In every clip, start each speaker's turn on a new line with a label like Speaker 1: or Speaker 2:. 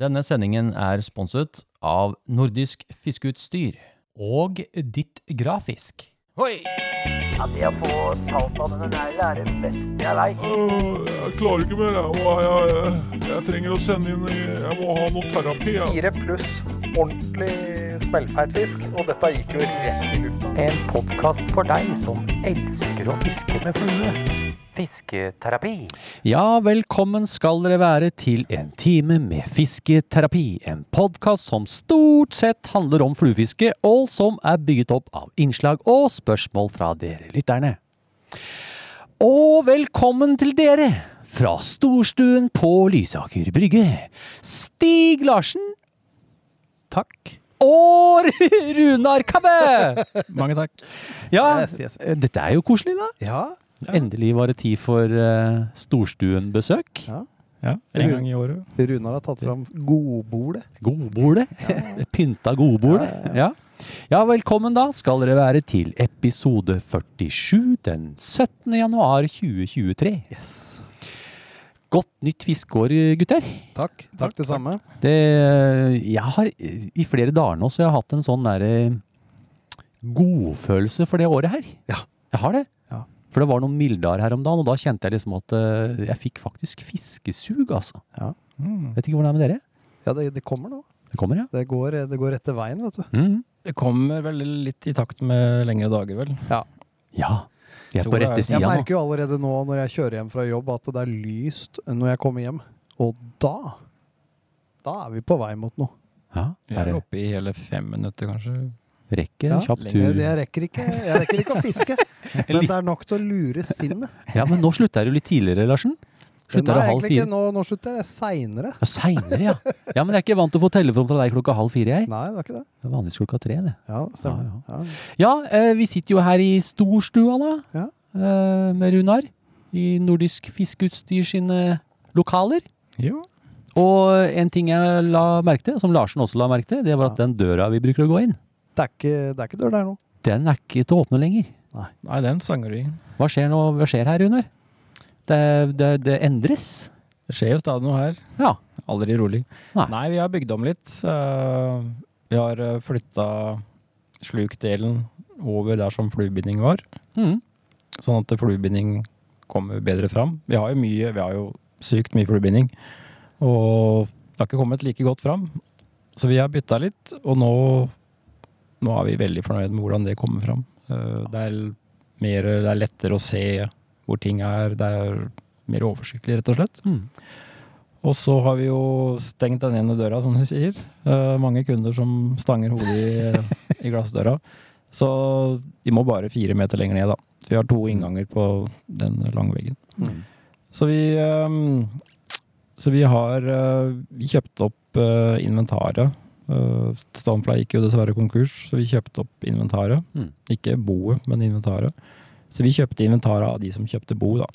Speaker 1: Denne sendingen er sponset av Nordisk Fiskeutstyr.
Speaker 2: og ditt grafisk.
Speaker 1: Hoi!
Speaker 3: Det å få talt av denne neglen er det beste jeg veit.
Speaker 4: Øh, Jeg klarer ikke mer. Jeg, må, jeg, jeg, jeg trenger å sende inn Jeg må ha noe terapi. Jeg.
Speaker 5: fire pluss ordentlig smellfeit fisk, og dette gikk jo rett i lufta.
Speaker 3: En podkast for deg som elsker å fiske med flue. Fisketerapi.
Speaker 2: Ja, velkommen skal dere være til en time med fisketerapi. En podkast som stort sett handler om fluefiske, og som er bygget opp av innslag og spørsmål fra dere lytterne. Og velkommen til dere fra storstuen på Lysaker brygge. Stig Larsen. Takk. Og Runar Kabbe!
Speaker 6: Mange takk.
Speaker 2: Ja, eh,
Speaker 6: Yes, yes.
Speaker 2: dette er jo koselig, da.
Speaker 6: Ja.
Speaker 2: Endelig var det tid for eh, storstuen-besøk.
Speaker 6: En gang i året.
Speaker 7: Runar har tatt fram godbordet.
Speaker 2: Godbordet. Pynta godbordet. Ja. ja, velkommen da skal dere være til episode 47 den 17. januar 2023. Godt nytt fiskeår, gutter.
Speaker 7: Takk. Takk, det samme.
Speaker 2: Det, jeg har i flere dager nå så jeg har hatt en sånn derre godfølelse for det året her.
Speaker 7: Ja.
Speaker 2: Jeg har det.
Speaker 7: Ja.
Speaker 2: For det var noen mildere her om dagen, og da kjente jeg liksom at eh, jeg fikk faktisk fiskesug, altså.
Speaker 7: Ja.
Speaker 2: Vet ikke hvordan det er med dere.
Speaker 7: Ja, det, det kommer nå.
Speaker 2: Det kommer, ja.
Speaker 7: Det går, det går rette veien, vet du.
Speaker 2: Mm.
Speaker 6: Det kommer vel litt i takt med lengre dager, vel.
Speaker 2: Ja. Vi er på
Speaker 6: Sola er-
Speaker 2: rette
Speaker 7: Jeg
Speaker 2: sida nå.
Speaker 7: merker jo allerede nå når jeg kjører hjem fra jobb at det er lyst når jeg kommer hjem. Og da da er vi på vei mot noe.
Speaker 2: Ja,
Speaker 6: Vi er
Speaker 2: bare
Speaker 6: vel oppe i hele fem minutter, kanskje.
Speaker 2: rekke en
Speaker 7: Ja,
Speaker 2: kjapp
Speaker 6: lenge.
Speaker 7: Jeg,
Speaker 2: tur.
Speaker 7: jeg, rekker ikke, jeg rekker ikke å fiske, men det er nok til å lure sinnet.
Speaker 2: Ja, men nå slutter du litt tidligere, Larsen. Slutter
Speaker 7: Nei,
Speaker 2: du halv
Speaker 7: egentlig ikke.
Speaker 2: fire?
Speaker 7: Nå, nå slutter jeg seinere.
Speaker 2: Ja, Seinere, ja. ja. Men jeg er ikke vant til å få telefon fra deg klokka halv fire, jeg.
Speaker 7: Nei, det var ikke det.
Speaker 2: Det er vanligvis klokka tre, det.
Speaker 7: Ja, det stemmer. Ja.
Speaker 2: Ja, eh, vi sitter jo her i storstua da,
Speaker 7: Ja.
Speaker 2: eh, med Runar, i Nordisk Fiskeutstyr sine lokaler.
Speaker 6: Jo.
Speaker 2: Og en ting jeg la merke til, som Larsen også la merke til, det var at den døra vi bruker å gå inn,
Speaker 7: Det er ikke, det er ikke dør der nå.
Speaker 2: den er ikke til å åpne lenger.
Speaker 6: Nei, den sanger vi.
Speaker 2: Hva skjer, nå, hva skjer her, Runar? Det, det, det endres.
Speaker 6: Det skjer jo stadig noe her.
Speaker 2: Ja.
Speaker 6: Aldri rolig.
Speaker 2: Nei.
Speaker 6: Nei, vi har bygd om litt. Eh, Vi har flytta slukdelen over der som fluebinding var,
Speaker 2: Mhm.
Speaker 6: sånn at fluebinding kommer bedre fram. Vi har jo mye, vi har jo sykt mye fluebinding, og det har ikke kommet like godt fram. Så vi har bytta litt, og nå, nå er vi veldig fornøyd med hvordan det kommer fram. Eh, Det er, mer, det er lettere å se hvor ting er, det er mer oversiktlig, rett og slett.
Speaker 2: Mm.
Speaker 6: Og så har vi jo stengt den ene døra, som du sier. Eh, mange kunder som stanger hodet i, i glassdøra. Så de må bare fire meter lenger ned, da. Vi har to innganger på den lange veggen.
Speaker 7: Mm.
Speaker 6: Så vi, eh, så vi har eh, vi kjøpt opp eh, inventaret. Eh, Stonefly gikk jo dessverre konkurs, så vi kjøpte opp inventaret.
Speaker 2: Mm.
Speaker 6: Ikke boet, men inventaret. Så vi kjøpte inventaret av de som kjøpte bo, da.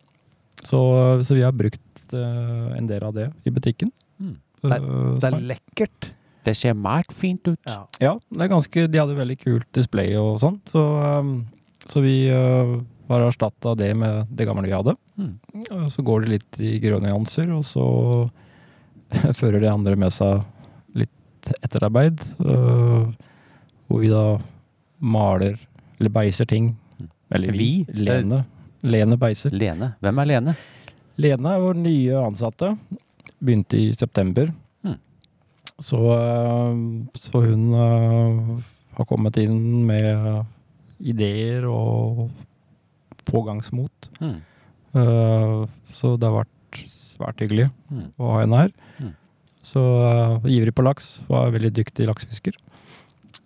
Speaker 6: Så, så vi har brukt eh, en del av det i butikken.
Speaker 2: Mm.
Speaker 6: Eh,
Speaker 7: Det
Speaker 6: så-
Speaker 7: er lekkert.
Speaker 2: Det ser mært fint ut.
Speaker 7: Ja.
Speaker 6: ja, det er ganske, de hadde veldig kult display og sånt, så, um, så vi uh, har erstatta det med det gamle vi hadde.
Speaker 2: Mm.
Speaker 6: Og så går det litt i grønne nyanser, og så fører de andre med seg litt etterarbeid, uh, hvor vi da maler, eller beiser ting. Eller vi.
Speaker 2: Vi?
Speaker 6: Lene. Lene beiser.
Speaker 2: Lene. Hvem er Lene?
Speaker 6: Lene er vår nye ansatte. Begynte i september.
Speaker 2: Mm.
Speaker 6: Så, eh, så hun eh, har kommet inn med ideer og pågangsmot.
Speaker 2: Mm.
Speaker 6: Eh, Så det har vært svært hyggelig
Speaker 2: Mm.
Speaker 6: å ha henne her.
Speaker 2: Mm.
Speaker 6: Så eh, ivrig på laks. Var veldig dyktig laksefisker.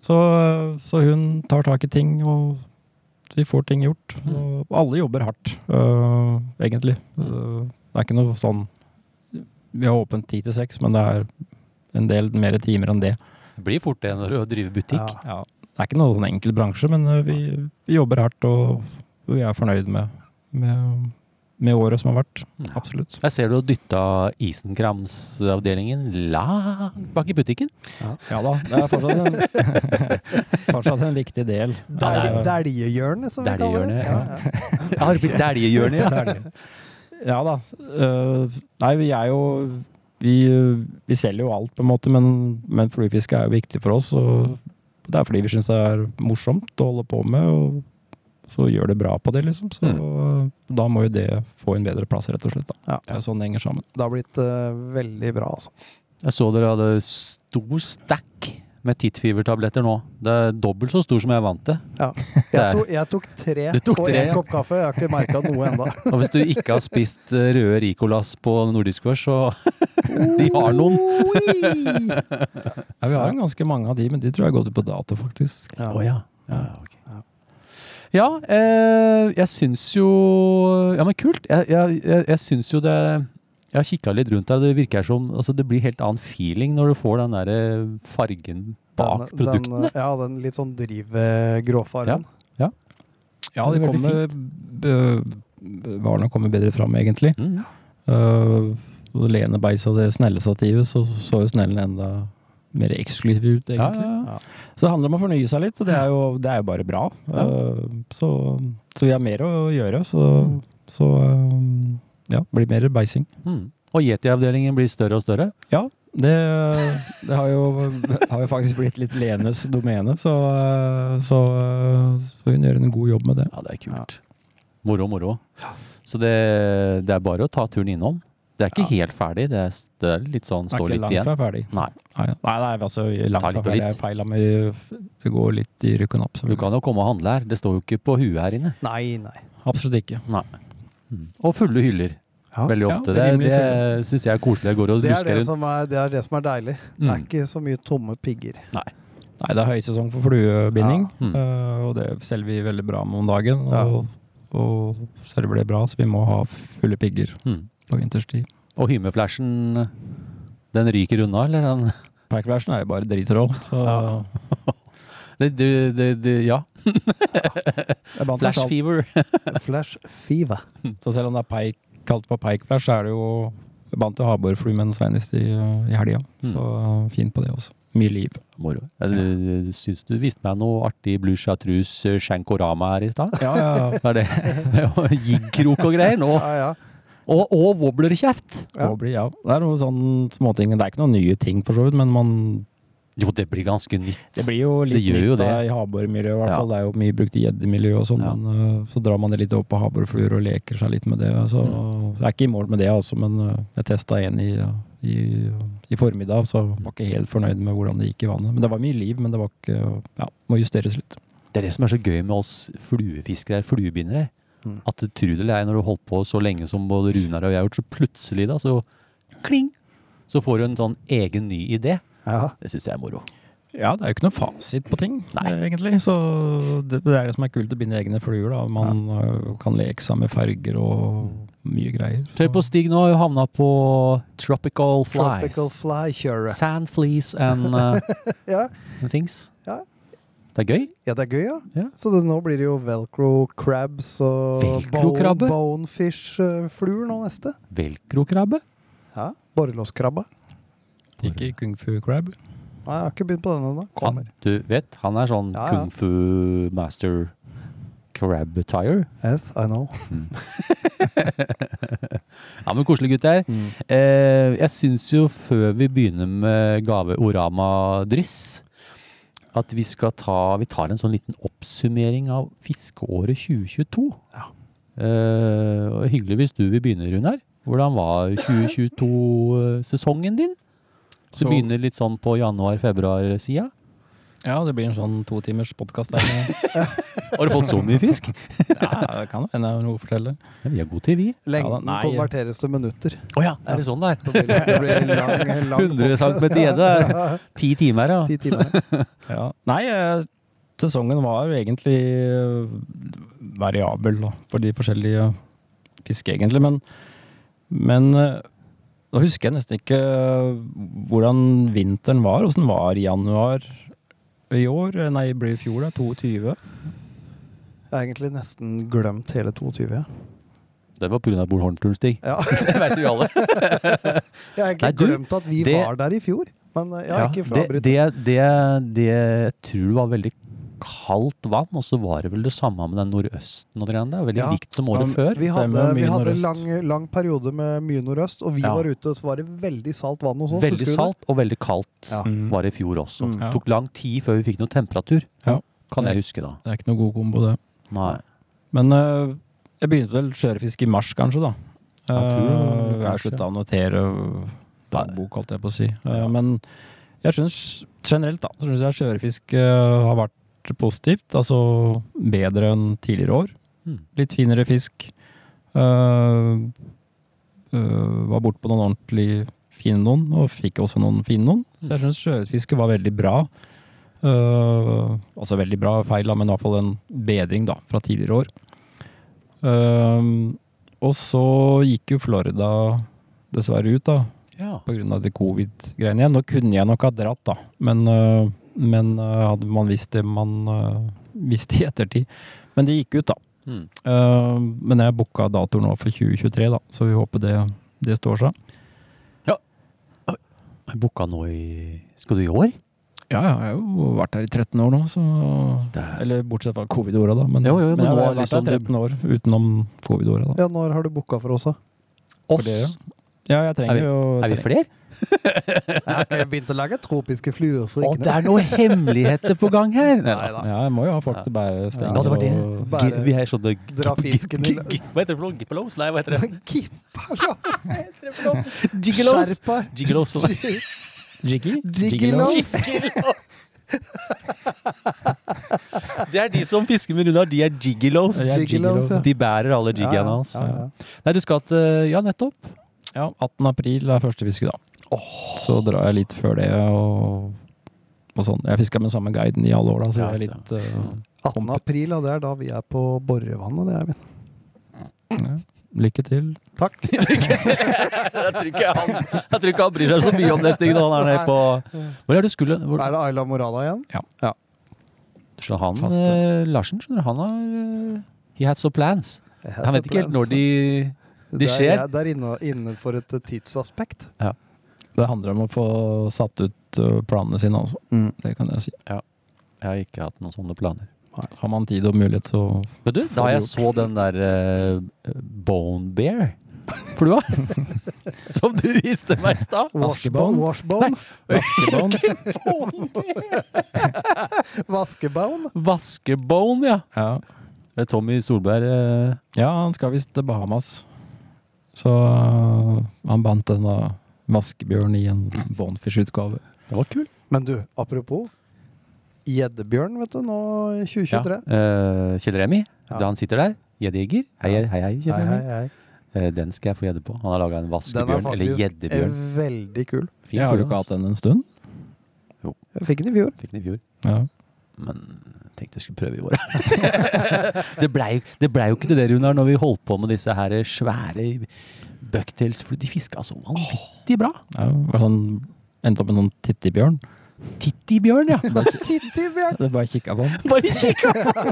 Speaker 6: Så, eh, så hun tar tak i ting, og vi får ting gjort.
Speaker 2: Mm.
Speaker 6: Og alle jobber hardt, eh, egentlig.
Speaker 2: Mm.
Speaker 6: Eh, det er ikke noe sånn Vi har åpent ti til seks, men det er en del mer timer enn det.
Speaker 2: Det blir fort det når du driver butikk.
Speaker 7: Ja.
Speaker 6: Ja, det er ikke noen sånn enkel bransje, men eh, vi, vi jobber hardt, og vi er fornøyd med, med, med året som har vært.
Speaker 2: Ja.
Speaker 6: Absolutt.
Speaker 2: Jeg ser du har dytta isenkramsavdelingen langt bak i butikken.
Speaker 6: Ja da, det er fortsatt en, fortsatt en viktig del.
Speaker 7: Del-
Speaker 6: Eh,
Speaker 7: Deljehjørnet, som vi kaller
Speaker 2: Deljehjørnet,
Speaker 7: det. Ja,
Speaker 2: ja.
Speaker 7: ja.
Speaker 2: Arbeid deljehjørnet, ja.
Speaker 6: Ja da. Eh, nei, vi er jo vi, vi selger jo alt, på en måte, men, men fluefiske er jo viktig for oss. Og det er fordi vi syns det er morsomt å holde på med, og så gjør det bra på det, liksom. Så da må jo det få en bedre plass, rett og slett. Da.
Speaker 7: Ja.
Speaker 6: Det er jo sånn det henger sammen.
Speaker 7: Det har blitt eh, veldig bra, altså.
Speaker 2: Jeg så dere hadde stor stack med tittfibertabletter nå. Det er dobbelt så stor som jeg er vant til.
Speaker 7: Jeg tok, jeg tok tre
Speaker 2: Du tok
Speaker 7: og
Speaker 2: tre,
Speaker 7: én
Speaker 2: ja.
Speaker 7: kopp kaffe. Jeg har ikke merka noe enda.
Speaker 2: Og hvis du ikke har spist eh, røde Ricolas på nordisk før, så De har noen.
Speaker 7: Oi!
Speaker 6: Ja, vi har jo ganske mange av de, men de tror jeg har gått ut på dato, faktisk.
Speaker 7: Ja.
Speaker 2: ja. Ja, ok.
Speaker 7: Ja.
Speaker 2: ja eh, jeg syns jo Ja, men kult. Jeg, jeg, jeg, jeg syns jo det Jeg har kikka litt rundt her, og det virker som altså, Det blir helt annen feeling når du får den derre fargen bak
Speaker 7: Den- den,
Speaker 2: produktene.
Speaker 7: ja, den litt sånn drive-gråfargen.
Speaker 6: Ja,
Speaker 2: det
Speaker 6: de
Speaker 2: er veldig
Speaker 6: kommer b- Varene kommer bedre fram, egentlig.
Speaker 2: Mm.
Speaker 6: Uh, Lene Beis og det snellestativet, så så jo snellen enda mer eksklusiv ut,
Speaker 2: Ja,
Speaker 6: egentlig.
Speaker 2: ja, ja.
Speaker 6: Så det handler om å fornye seg litt, og det er jo, det er jo bare bra.
Speaker 2: Ja.
Speaker 6: Uh, så, så vi har mer å gjøre, så, så um, ja, det blir mer beising.
Speaker 2: Mm. Og yeti-avdelingen blir større og større.
Speaker 6: Ja, det, det har, jo, har jo faktisk blitt litt Lenes domene, så, uh, så, uh, så hun gjør en god jobb med det.
Speaker 2: Ja, det er kult. Moro, moro. Så det, det er bare å ta turen innom. Det er ikke helt ferdig. Det er, det er litt sånn,
Speaker 6: Det er
Speaker 2: står
Speaker 6: ikke
Speaker 2: litt
Speaker 6: langt
Speaker 2: igjen.
Speaker 6: fra ferdig.
Speaker 2: Nei.
Speaker 6: Nei, nei, nei altså, langt
Speaker 2: Ta
Speaker 6: fra
Speaker 2: litt og
Speaker 6: ferdig
Speaker 2: litt.
Speaker 6: er feil, men vi- det går litt i rykk og napp.
Speaker 2: Du
Speaker 6: selvfølgelig.
Speaker 2: kan jo komme og handle her. Det står jo ikke på huet her inne. Mm.
Speaker 7: Nei, nei.
Speaker 6: Absolutt ikke.
Speaker 2: Og fulle hyller.
Speaker 7: Ja.
Speaker 2: Veldig
Speaker 6: Ja,
Speaker 2: ofte.
Speaker 6: rimelig
Speaker 2: det det syns jeg er koselig. Jeg går og
Speaker 7: Det er
Speaker 2: lusker
Speaker 7: det
Speaker 2: rundt.
Speaker 7: som er, det er, det som er deilig. Det er
Speaker 2: Mm.
Speaker 7: ikke så mye tomme pigger.
Speaker 6: Nei, det er høysesong for fluebinding,
Speaker 2: Ja. Mm.
Speaker 6: eh, og det selger vi veldig bra med om dagen.
Speaker 7: Ja.
Speaker 6: Og, og server det bra, så vi må ha fulle pigger
Speaker 2: Mm.
Speaker 6: på vinterstid.
Speaker 2: Og hymeflashen, den ryker unna, eller? Den?
Speaker 6: Pikelashen er jo bare dritroll, så
Speaker 2: Det, det, det, det, ja.
Speaker 6: Jeg vant til
Speaker 2: Flash
Speaker 6: salt.
Speaker 2: fever.
Speaker 7: Flash fiva.
Speaker 6: Så selv om det er pike, kalt for pikeflash, så er det jo jeg bandt til havborflumen senest i, eh, i helga,
Speaker 2: Mm.
Speaker 6: så eh, fint på det også. Mye liv.
Speaker 2: Moro. Jeg syns du viste meg noe artig Blue Chartreuse eh, Shankorama her i stad.
Speaker 6: Ja, ja, ja.
Speaker 2: Hva er det? Og Jiggkrok og greier. Nå.
Speaker 7: Ja, ja.
Speaker 2: Og, og wobblerkjeft.
Speaker 7: Ja.
Speaker 6: Og bli- ja. Det er noen sånne småting. Det er ikke noen nye ting, for så vidt, men man
Speaker 2: Jo, det blir ganske nytt.
Speaker 6: Det blir jo litt
Speaker 2: Det gjør jo
Speaker 6: nytt da,
Speaker 2: det.
Speaker 6: i havbormiljøet, i hvert
Speaker 2: Ja.
Speaker 6: fall. Det er jo mye brukt i gjeddemiljøet og sånn,
Speaker 2: Ja.
Speaker 6: men øh, så drar man det litt opp på havborfluer og leker seg litt med det. altså. Så jeg er ikke i mål med det, altså, men øh, jeg testa en i, øh, i, i formiddag, så var ikke helt fornøyd med hvordan det gikk i vannet. Men det var mye liv, men det var ikke Ja, må justeres litt.
Speaker 2: Det er det som er så gøy med oss fluefiskere, her, fluebindere.
Speaker 7: Mm.
Speaker 2: At det tror det eller ei, når du har holdt på så lenge som både Runar og jeg har gjort, så plutselig da, så kling, så får du en sånn egen ny idé.
Speaker 7: Ja.
Speaker 2: Det syns jeg er moro.
Speaker 6: Ja, det er jo ikke noe fasit på ting,
Speaker 2: Nei.
Speaker 6: eh, egentlig. Så det, det er det som er kult, å binde egne fluer. da. Man øh, kan leke seg med farger og mye greier.
Speaker 2: Tøy på Stig nå har jo havna på tropical flies.
Speaker 7: Tropical fly cure.
Speaker 2: Sand fleas and uh,
Speaker 7: Ja.
Speaker 2: things.
Speaker 7: Ja.
Speaker 2: Det er gøy.
Speaker 7: ja, det er gøy, ja.
Speaker 2: Ja.
Speaker 7: Så det, nå blir det jo velcro crabs og bone,
Speaker 2: Velcro-krabbe?
Speaker 7: bonefish-fluer nå neste.
Speaker 2: Velcro-krabbe.
Speaker 7: Ja. Borrelåskrabbe.
Speaker 6: Ikke kung fu crab.
Speaker 7: Nei, jeg har ikke begynt på den ennå. Kommer.
Speaker 2: Han, du vet, han er sånn
Speaker 7: Ja, ja.
Speaker 2: kung fu master crab tire.
Speaker 7: Yes, I know.
Speaker 2: Mm. Ja, men koselig gutter. Eh, jeg syns jo før vi begynner med gave Orama Dryss, at vi skal ta Vi tar en sånn liten oppsummering av fiskeåret 2022. Eh, og hyggelig hvis du vil begynne, Runar. Hvordan var 2022-sesongen din? Så,
Speaker 6: Så-
Speaker 2: begynner litt sånn på januar-februar-sida.
Speaker 6: Ja, det blir en sånn to timers podkast der.
Speaker 2: Har du fått så mye fisk?
Speaker 6: ja, det kan hende jeg har noe å fortelle.
Speaker 2: Ja, vi er gode til, vi.
Speaker 6: Ja, da-
Speaker 7: Lengden
Speaker 6: nei.
Speaker 7: konverteres til minutter.
Speaker 2: Å ja, er det sånn det er?
Speaker 7: Så blir det- det blir en lang, lang
Speaker 2: 100 cm gjedde. Ti timer, ja.
Speaker 7: Ti timer.
Speaker 6: Ja. Nei, eh, sesongen var jo egentlig eh, variabel da, for de forskjellige fiske, egentlig. Men, men eh, da husker jeg nesten ikke eh, hvordan vinteren var. Åssen var januar i år? Eh, Nei, det ble i fjor, da. 22.
Speaker 7: Jeg har egentlig nesten glemt hele 22.
Speaker 2: Det var pga. Bård Hornturen, Stig.
Speaker 7: Ja.
Speaker 2: Det vet vi alle.
Speaker 7: Jeg har
Speaker 2: Nei,
Speaker 7: egentlig
Speaker 2: du,
Speaker 7: glemt at vi
Speaker 2: det-
Speaker 7: var der i fjor. Men eh, jeg har
Speaker 2: Ja,
Speaker 7: ikke
Speaker 2: det,
Speaker 7: frabrytt.
Speaker 2: det, det, det jeg tror var veldig kaldt vann, og så var det vel det samme med den nordøsten og det greiene der. Veldig
Speaker 7: Ja.
Speaker 2: likt som året
Speaker 6: Ja,
Speaker 2: før.
Speaker 7: Vi
Speaker 6: Stemmer,
Speaker 7: hadde,
Speaker 6: mye
Speaker 7: vi hadde
Speaker 6: nordøst.
Speaker 7: lang, lang periode med mye nordøst, og vi
Speaker 2: Ja.
Speaker 7: var ute, og så var det veldig salt vann hos oss.
Speaker 2: Veldig
Speaker 7: husker du det?
Speaker 2: salt og veldig kaldt
Speaker 7: Ja.
Speaker 6: Mm.
Speaker 2: var det i fjor også.
Speaker 7: Mm.
Speaker 6: Ja.
Speaker 2: Tok lang tid før vi fikk noe temperatur,
Speaker 6: Ja.
Speaker 2: kan jeg huske da.
Speaker 6: Det er ikke noe god kombo, det.
Speaker 2: Nei.
Speaker 6: Men øh, jeg begynte vel sjøørretfiske i mars, kanskje, da.
Speaker 2: Jeg tror det var
Speaker 6: Øh,
Speaker 2: i
Speaker 6: jeg
Speaker 2: mars,
Speaker 6: slutta å notere øh, dagbok, holdt jeg på å si. Øh, Men jeg syns generelt, da, så synes jeg sjøørretfisk øh, har vært positivt. Altså bedre enn tidligere år.
Speaker 2: Mm.
Speaker 6: Litt finere fisk. Øh, øh, var bortpå noen ordentlig fine noen, og fikk også noen fine noen. Så jeg syns sjøørretfisket var veldig bra. Øh, altså veldig bra feil, da, men i hvert fall en bedring da, fra tidligere år. Ehm, og så gikk jo Florida dessverre ut, da,
Speaker 2: Ja.
Speaker 6: pga. de covid-greiene igjen. Nå kunne jeg nok ha dratt, da, men, øh, men øh, hadde man visst det man øh, visste i ettertid. Men det gikk ut, da.
Speaker 2: Mm.
Speaker 6: Eh, men jeg booka dato nå for 2023, da, så vi håper det, det står seg.
Speaker 2: Jeg booka nå i Skal du i år?
Speaker 6: Ja, ja, jeg har jo vært her i 13 år nå, så Eller bortsett fra covid-åra, da. Men,
Speaker 2: Jo, jo, men
Speaker 6: jeg
Speaker 2: nå
Speaker 6: har
Speaker 2: er
Speaker 6: vært
Speaker 2: liksom
Speaker 6: her
Speaker 2: det-
Speaker 6: 13 år utenom covid-åra, da.
Speaker 7: Ja, når har du booka for oss, da?
Speaker 2: Oss?
Speaker 6: dere, Ja, jeg
Speaker 2: Er vi-
Speaker 6: trenger jo
Speaker 2: Er vi flere?
Speaker 7: Jeg begynte å lage tropiske fluer for
Speaker 2: Å, det er noen hemmeligheter på gang her! Nei,
Speaker 7: Nei da.
Speaker 6: Ja, jeg må jo ha folk til å bære stenger.
Speaker 2: Ja, det var det.
Speaker 6: og-
Speaker 7: Bare
Speaker 2: Gi- Vi er sånne
Speaker 7: dra fisken i-
Speaker 2: Hva heter det for noe? Gippelos? Nei, hva heter det?
Speaker 7: Gippalos!
Speaker 2: Giggelos!
Speaker 7: Skjerpa!
Speaker 2: Giggelos.
Speaker 6: Jiggy?
Speaker 7: Jiggelos.
Speaker 2: Giggelos! Det er de som fisker med Runar, de er giggelos.
Speaker 6: Ja, jeg-
Speaker 7: Jiggelos, ja.
Speaker 2: De bærer alle
Speaker 7: Ja,
Speaker 2: jiggaene
Speaker 7: ja,
Speaker 2: hans.
Speaker 7: ja, ja.
Speaker 2: Nei, du skal til Ja, nettopp.
Speaker 6: Ja, 18. april er første fiske, da. Så drar jeg litt før det og, og sånn. Jeg fiska med samme guiden i alle år, da, så
Speaker 2: Ja,
Speaker 6: jeg er litt øh,
Speaker 7: 18. april, ja, det er da vi er på Borrevannet, det er min.
Speaker 2: Mm.
Speaker 6: Lykke til.
Speaker 7: Takk.
Speaker 2: Jeg tror ikke han, jeg tror ikke han bryr seg så mye om det, Stig, når han er nede på Hvor er du skulle? Hvor,
Speaker 7: Er det Ayla Morada igjen?
Speaker 2: så han
Speaker 6: Fast, ja.
Speaker 2: eh, Larsen, skjønner du, han har eh, He had so plans. Han vet ikke helt når de de
Speaker 7: Det er-
Speaker 2: skjer.
Speaker 7: ja, Det er inne- innenfor et eh, tidsaspekt.
Speaker 6: Det handler om å få satt ut øh, planene sine, altså.
Speaker 7: Mm.
Speaker 6: Det kan jeg si.
Speaker 2: Jeg har ikke hatt noen sånne planer.
Speaker 6: Har man tid og mulighet, så
Speaker 2: Men du, da jeg så den der eh, Bone Bear Flua Som du viste meg i stad
Speaker 7: Washbone.
Speaker 6: Vaskebone?
Speaker 7: Washbone.
Speaker 6: Vaskebånd.
Speaker 7: Vaskebone.
Speaker 2: Vaskebone, ja
Speaker 6: ja.
Speaker 2: Det er Tommy Solberg eh,
Speaker 6: ja, han skal visst til Bahamas. Så øh, han bandt en da, vaskebjørn i en Bonfish-utgave.
Speaker 2: Det var kul
Speaker 7: Men du, apropos gjeddebjørn, vet du, nå i 2023.
Speaker 2: eh, Kjell Remi,
Speaker 7: Ja.
Speaker 2: da han sitter der Gjeddejeger, hei, hei, hei Kjell
Speaker 7: Hei,
Speaker 2: Remi
Speaker 7: hei, hei.
Speaker 2: Eh, Den skal jeg få gjedde på Han har laget en
Speaker 7: Den er
Speaker 2: vaskebjørn, eller
Speaker 7: faktisk eh,
Speaker 2: gjeddebjørn
Speaker 7: veldig kul.
Speaker 2: Fint
Speaker 6: Jeg har jo
Speaker 2: for
Speaker 6: ikke
Speaker 2: oss.
Speaker 6: hatt den en stund.
Speaker 7: Jeg fikk den i fjor.
Speaker 2: Fikk den i fjor
Speaker 6: Ja.
Speaker 2: Men jeg tenkte jeg skulle prøve i år. det blei jo- det blei jo ikke til det, Runar, når vi holdt på med disse her svære bucktails. For de fiska så vanvittig bra.
Speaker 6: Ja, var sånn, endte opp med noen tittibjørn.
Speaker 2: Tittibjørn, ja.
Speaker 7: Tittibjørn.
Speaker 6: Det bare kikka på den.
Speaker 2: Bare kikka på!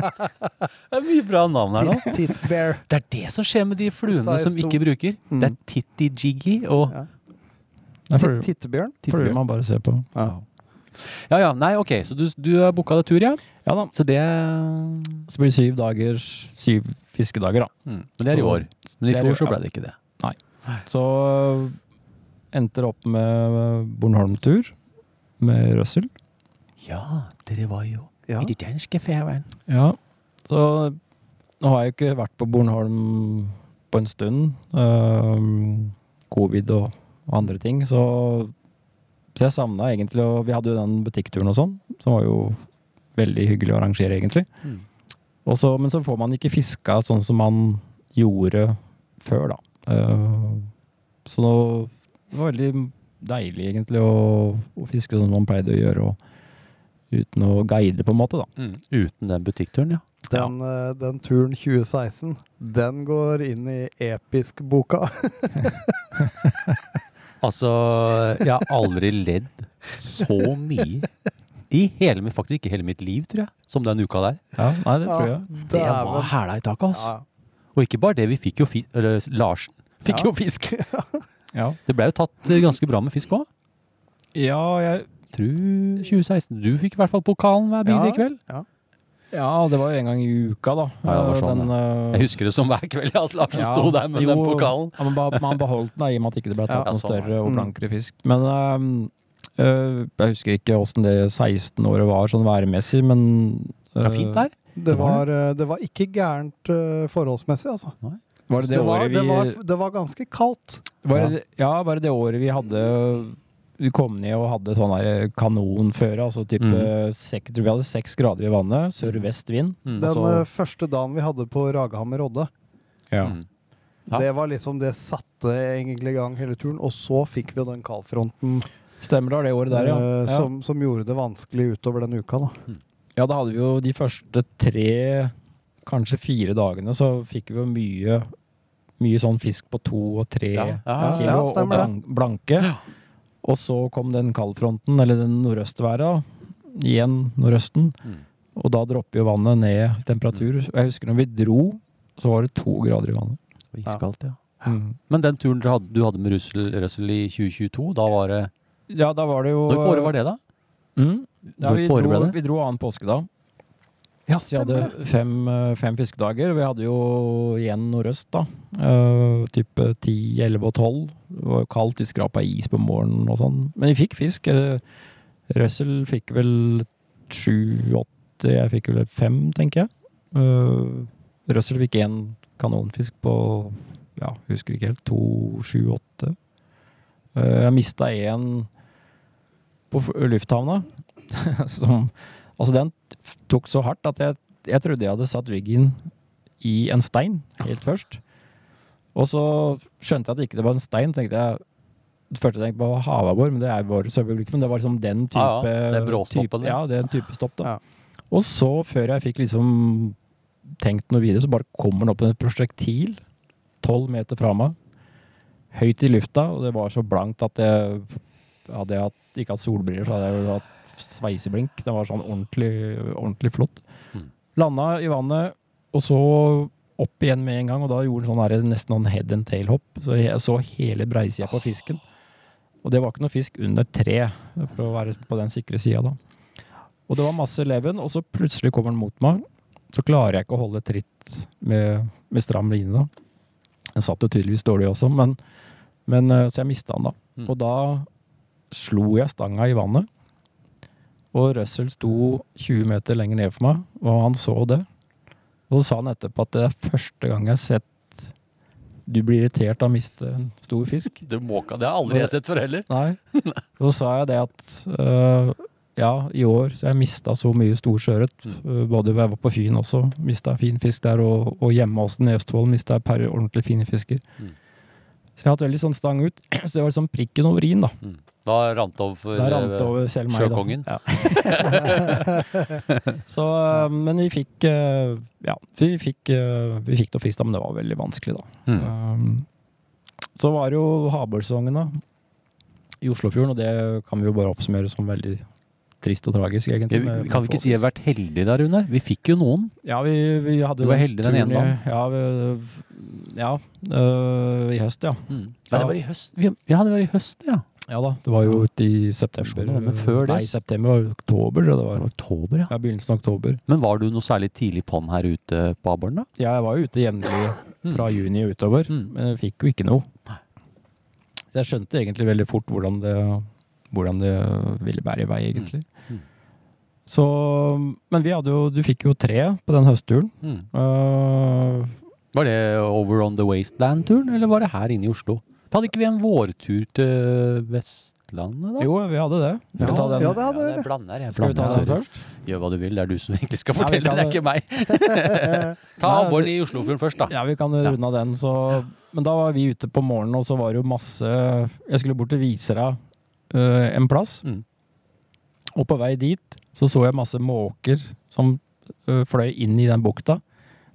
Speaker 2: Det er mye bra navn her nå.
Speaker 7: Tittbear.
Speaker 2: Det er det som skjer med de fluene
Speaker 7: Size
Speaker 2: som
Speaker 7: to. Mm.
Speaker 2: ikke bruker. Det er Titti Jiggy og
Speaker 6: Det
Speaker 7: Tittebjørn.
Speaker 6: prøver
Speaker 2: Tittibjørn.
Speaker 6: man bare å se på.
Speaker 2: Ja ja, nei ok, så du, du har booka deg tur, ja?
Speaker 6: Ja da.
Speaker 2: Så det
Speaker 6: Så blir det syv dager, syv fiskedager, da.
Speaker 2: mm, Men det er i
Speaker 6: Så-
Speaker 2: år. Men i
Speaker 6: det er i
Speaker 2: fjor så
Speaker 6: år, ja.
Speaker 2: blei det ikke det.
Speaker 6: Så øh, endte det opp med øh, Bornholm-tur med Røssel.
Speaker 2: Ja, dere var jo
Speaker 7: Ja.
Speaker 2: i de danske fairwayen.
Speaker 6: Ja. Så nå har jeg jo ikke vært på Bornholm på en stund. Ehm, Covid og, og andre ting. Så, så jeg savna egentlig å Vi hadde jo den butikkturen og sånn, som var jo veldig hyggelig å arrangere, egentlig.
Speaker 2: Mm.
Speaker 6: Og så- men så får man ikke fiska sånn som man gjorde før, da. Ehm, så nå, det var veldig deilig egentlig å, å fiske sånn som man pleide å gjøre, og, uten å guide, på en måte, da.
Speaker 2: Mm. Uten den butikkturen, ja.
Speaker 7: Den, eh, den turen 2016, den går inn i episk-boka.
Speaker 2: Altså, jeg har aldri ledd så mye i hele mitt, faktisk ikke hele mitt liv, tror jeg, som den uka der.
Speaker 6: Ja, nei, det tror jeg.
Speaker 2: Det var
Speaker 7: Dæven.
Speaker 2: hæla i taket, ass.
Speaker 7: Ja.
Speaker 2: Og ikke bare det, vi fikk jo fisk, eller Larsen fikk jo fisk.
Speaker 6: Ja.
Speaker 2: Det ble jo tatt eh, ganske bra med fisk òg.
Speaker 6: Ja, jeg
Speaker 2: Tror 2016. Du fikk i hvert fall pokalen hver bidige
Speaker 7: Ja,
Speaker 2: kveld.
Speaker 7: ja.
Speaker 6: Ja, det var jo en gang i uka, da.
Speaker 2: Ja, det var sånn,
Speaker 6: den, eh,
Speaker 2: Jeg husker det som hver kveld at Lars
Speaker 6: Ja.
Speaker 2: sto der med den
Speaker 6: Jo,
Speaker 2: pokalen.
Speaker 6: Ja, men ba- man beholdt den da, i og med at ikke det ble
Speaker 2: Ja,
Speaker 6: tatt noen
Speaker 2: sånn, ja.
Speaker 6: større og
Speaker 7: Mm.
Speaker 6: blankere fisk. Men eh, eh, jeg husker ikke åssen det 16-året var sånn værmessig, men
Speaker 2: Det
Speaker 6: eh,
Speaker 2: var fint vær.
Speaker 7: Det
Speaker 6: var
Speaker 7: var, eh, det var ikke gærent eh, forholdsmessig, altså.
Speaker 6: eh, Var det det,
Speaker 7: var,
Speaker 6: året vi
Speaker 7: det, var, det var ganske kaldt.
Speaker 6: var det, Ja, bare det året vi hadde Vi kom ned og hadde sånn der kanonføre, altså type
Speaker 2: Mm.
Speaker 6: sek, jeg tror Vi hadde seks grader i vannet, sør-vest vind.
Speaker 2: Mm.
Speaker 7: Den
Speaker 6: så-
Speaker 7: eh, første dagen vi hadde på Raghammer Odde,
Speaker 6: Ja.
Speaker 2: Mm. Ja.
Speaker 7: det var liksom det satte egentlig i gang hele turen. Og så fikk vi jo den kaldfronten
Speaker 6: Stemmer det, var det året der, ja.
Speaker 7: eh,
Speaker 6: ja.
Speaker 7: Som, som gjorde det vanskelig utover den uka, da.
Speaker 6: Ja, da hadde vi jo de første tre, kanskje fire dagene, så fikk vi jo mye, mye sånn fisk på to og tre
Speaker 2: Ja, ja,
Speaker 6: kilo,
Speaker 7: ja,
Speaker 6: og
Speaker 7: stemmer det.
Speaker 6: blan blanke. Og så kom den kaldfronten, eller den nordøstværet, da. igjen nordøsten,
Speaker 2: Mm.
Speaker 6: og da dropper jo vannet ned i temperatur. Og Jeg husker når vi dro, så var det to grader i vannet.
Speaker 2: Det var Iskaldt, ja.
Speaker 6: Mm.
Speaker 2: Men den turen dere hadde- du hadde med Russell, Russell i 2022, da var det
Speaker 6: Ja, da var det jo...
Speaker 2: Hvilket år var det, da?
Speaker 6: Mm. Ja, vi,
Speaker 2: Hvilket år
Speaker 6: dro,
Speaker 2: ble det?
Speaker 6: vi dro annen påske da.
Speaker 7: Ja,
Speaker 6: Så vi hadde fem, eh, fem fiskedager. Vi hadde jo igjen nordøst, da. Eh, type 10, 11 og 12. Det var jo kaldt, vi skrapa is på morgenen og sånn. Men vi fikk fisk. Eh, Russell fikk vel 7-8, jeg fikk vel 5, tenker jeg. Eh, Russell fikk én kanonfisk på ja, husker ikke helt, 2-7-8. Eh, jeg mista én på f- lufthavna, som Altså, den tok så hardt at jeg, jeg trodde jeg hadde satt riggen i en stein helt først. Og så skjønte jeg at ikke det var en stein. tenkte jeg, Det første jeg tenkte på, var havabbor, men det er vår selvfølgelig ikke. Men det var liksom den type
Speaker 2: Ja, ja, det er bråstoppen,
Speaker 6: type,
Speaker 2: det.
Speaker 6: ja, det er en type stopp. da.
Speaker 7: Ja.
Speaker 6: Og så, før jeg fikk liksom tenkt noe videre, så bare kommer den opp med et prosjektil tolv meter fra meg, høyt i lufta, og det var så blankt at jeg hadde jeg hatt, ikke hatt solbriller, så hadde jeg jo hatt sveiseblink. Den var sånn ordentlig, ordentlig flott.
Speaker 2: Mm.
Speaker 6: Landa i vannet, og så opp igjen med en gang, og da gjorde den sånn her, nesten noen head and tail hopp. Så jeg så hele breisida på fisken. Og det var ikke noe fisk under tre, for å være på den sikre sida da. Og det var masse leven, og så plutselig kommer den mot meg. Så klarer jeg ikke å holde tritt med, med stram line da. Den satt jo tydeligvis dårlig også, men, men eh, så jeg mista den da.
Speaker 2: Mm.
Speaker 6: Og da slo jeg stanga i vannet. Og Russell sto 20 meter lenger ned for meg, og han så det. Og så sa han etterpå at det er første gang jeg har sett du blir irritert av å miste en stor fisk.
Speaker 2: Det, måka, det har aldri jeg sett før heller.
Speaker 6: Nei. Og så sa jeg det at øh, ja, i år så jeg mista så mye stor sjøørret. øh, både da jeg var på Fyn også, mista fin fisk der, og, og hjemme hos den i Østfold mista jeg et par ordentlig fine fisker.
Speaker 2: Mm.
Speaker 6: Så jeg har hatt veldig sånn stang ut. Så det var liksom prikken over i-en, da.
Speaker 2: Da rant det over for eh,
Speaker 6: Der rant det over selv meg. da.
Speaker 2: sjøkongen.
Speaker 6: Ja. så, øh, men vi fikk øh, Ja, vi fikk, øh, vi fikk noe fisk da, men det var veldig vanskelig, da.
Speaker 2: Mm.
Speaker 6: Um, så var det jo havbørsesongen da, i Oslofjorden, og det kan vi jo bare oppsummere som veldig trist og tragisk,
Speaker 2: Det,
Speaker 6: egentlig. med-
Speaker 2: kan vi
Speaker 6: med
Speaker 2: ikke
Speaker 6: få
Speaker 2: si vi har
Speaker 6: fisk.
Speaker 2: vært heldige der, Runar? Vi fikk jo noen.
Speaker 6: Ja, vi, vi hadde
Speaker 2: Du var heldig den
Speaker 6: turen
Speaker 2: ene
Speaker 6: i-
Speaker 2: dagen.
Speaker 6: Ja, vi, ja øh, i høst, ja.
Speaker 2: Ja, det var i høst. Vi, ja, det var i høst, ja.
Speaker 6: Ja da, det var jo ute i september.
Speaker 2: Skjønner, men før det-
Speaker 6: Nei, september var jo oktober, så det
Speaker 2: Det
Speaker 6: var
Speaker 2: var oktober, ja.
Speaker 6: ja, begynnelsen av oktober.
Speaker 2: Men var du noe særlig tidlig på'n her ute på abboren, da?
Speaker 6: Ja, jeg var jo ute jevnlig fra juni og utover,
Speaker 2: Mm.
Speaker 6: men jeg fikk jo ikke noe. Så jeg skjønte egentlig veldig fort hvordan det, hvordan det ville bære i vei, egentlig.
Speaker 2: Mm. Mm.
Speaker 6: Så, men vi hadde jo, du fikk jo tre på den høstturen.
Speaker 2: Mm.
Speaker 6: Eh,
Speaker 2: Var det Over on the Wasteland-turen, eller var det her inne i Oslo? Hadde ikke vi en vårtur til Vestlandet, da?
Speaker 6: jo, vi hadde det. Skal vi ta den?
Speaker 7: ja, det hadde dere.
Speaker 2: jeg blander, jeg.
Speaker 6: Skal vi ta
Speaker 2: blander,
Speaker 6: den
Speaker 2: sorry.
Speaker 6: først?
Speaker 2: Gjør hva du vil, det er du som egentlig skal
Speaker 6: Nei, vi
Speaker 2: fortelle,
Speaker 6: kan
Speaker 2: det er ikke meg. Ta
Speaker 6: Nei,
Speaker 2: abboren i Oslofjorden først, da.
Speaker 6: Ja, vi kan runde av den. Så, men da var vi ute på morgenen, og så var det jo masse Jeg skulle bort til Visera eh, en plass.
Speaker 2: Mm.
Speaker 6: Og på vei dit så så jeg masse måker som eh, fløy inn i den bukta.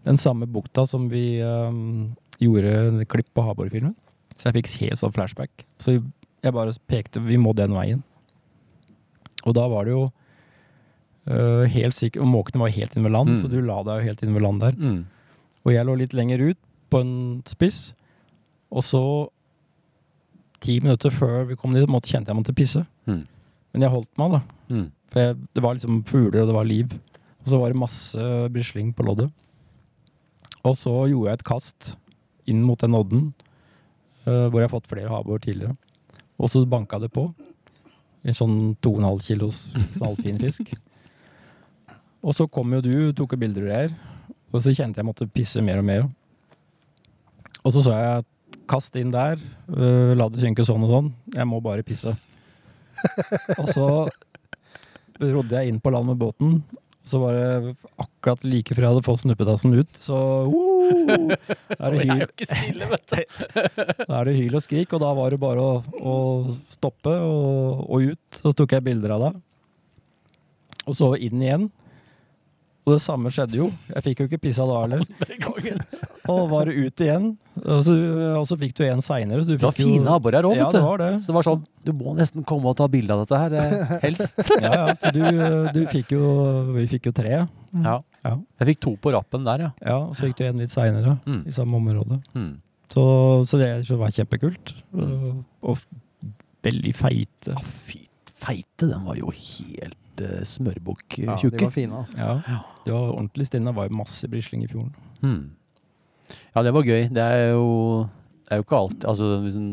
Speaker 6: Den samme bukta som vi eh, gjorde en klipp på Habor-filmen. Så jeg fikk helt sånn flashback. Så jeg bare pekte Vi må den veien. Og da var det jo eh, helt sikkert Og måkene var helt inne ved land,
Speaker 2: Mm.
Speaker 6: så du la deg jo helt inne ved land der.
Speaker 2: Mm.
Speaker 6: Og jeg lå litt lenger ut på en spiss. Og så, ti minutter før vi kom dit, måtte, kjente jeg måtte pisse.
Speaker 2: Mm.
Speaker 6: Men jeg holdt meg, da.
Speaker 2: Mm.
Speaker 6: For jeg, det var liksom fugler, og det var liv. Og så var det masse brisling på loddet. Og så gjorde jeg et kast inn mot den odden, eh, hvor jeg har fått flere havbor tidligere. Og så banka det på. En sånn 2,5 kilos halvfin fisk. Og så kom jo du, tok jo bilder og greier. Og så kjente jeg måtte pisse mer og mer. Og så sa jeg kast inn der, øh, la det synke sånn og sånn. Jeg må bare pisse. og så rodde jeg inn på land med båten. Så var det akkurat like før jeg hadde fått snuppetassen ut, så woo, da, er det hyl,
Speaker 2: ikke stille, vet du.
Speaker 6: da er det hyl og skrik. Og da var det bare å, å stoppe og, og ut. Så tok jeg bilder av deg. Og så inn igjen. Og det samme skjedde jo. Jeg fikk jo ikke pissa da heller. Og var ut igjen. Og så, og så fikk du en seinere.
Speaker 2: Det var fine
Speaker 6: jo,
Speaker 2: abbor her òg,
Speaker 6: Ja,
Speaker 2: vet
Speaker 6: det
Speaker 2: du.
Speaker 6: var det.
Speaker 2: Så det var sånn Du må nesten komme og ta bilde av dette her, eh, helst.
Speaker 6: Ja, ja, så du, du fikk jo Vi fikk jo tre.
Speaker 2: Ja.
Speaker 6: Ja.
Speaker 2: Jeg fikk to på rappen der, ja.
Speaker 6: Ja, og så fikk du en litt seinere
Speaker 2: Mm.
Speaker 6: i samme område.
Speaker 2: Hmm.
Speaker 6: Så, så det var kjempekult. Og, og veldig feite.
Speaker 2: Ja, fy feite, den var jo helt uh,
Speaker 7: Ja,
Speaker 2: smørbukk-tjukke.
Speaker 7: de var fine, altså.
Speaker 6: Ja, det var ordentlig stille. Det var jo masse brisling i fjorden.
Speaker 2: Hmm. Ja, det var gøy. Det er jo, det er jo ikke alltid Altså, hvis en,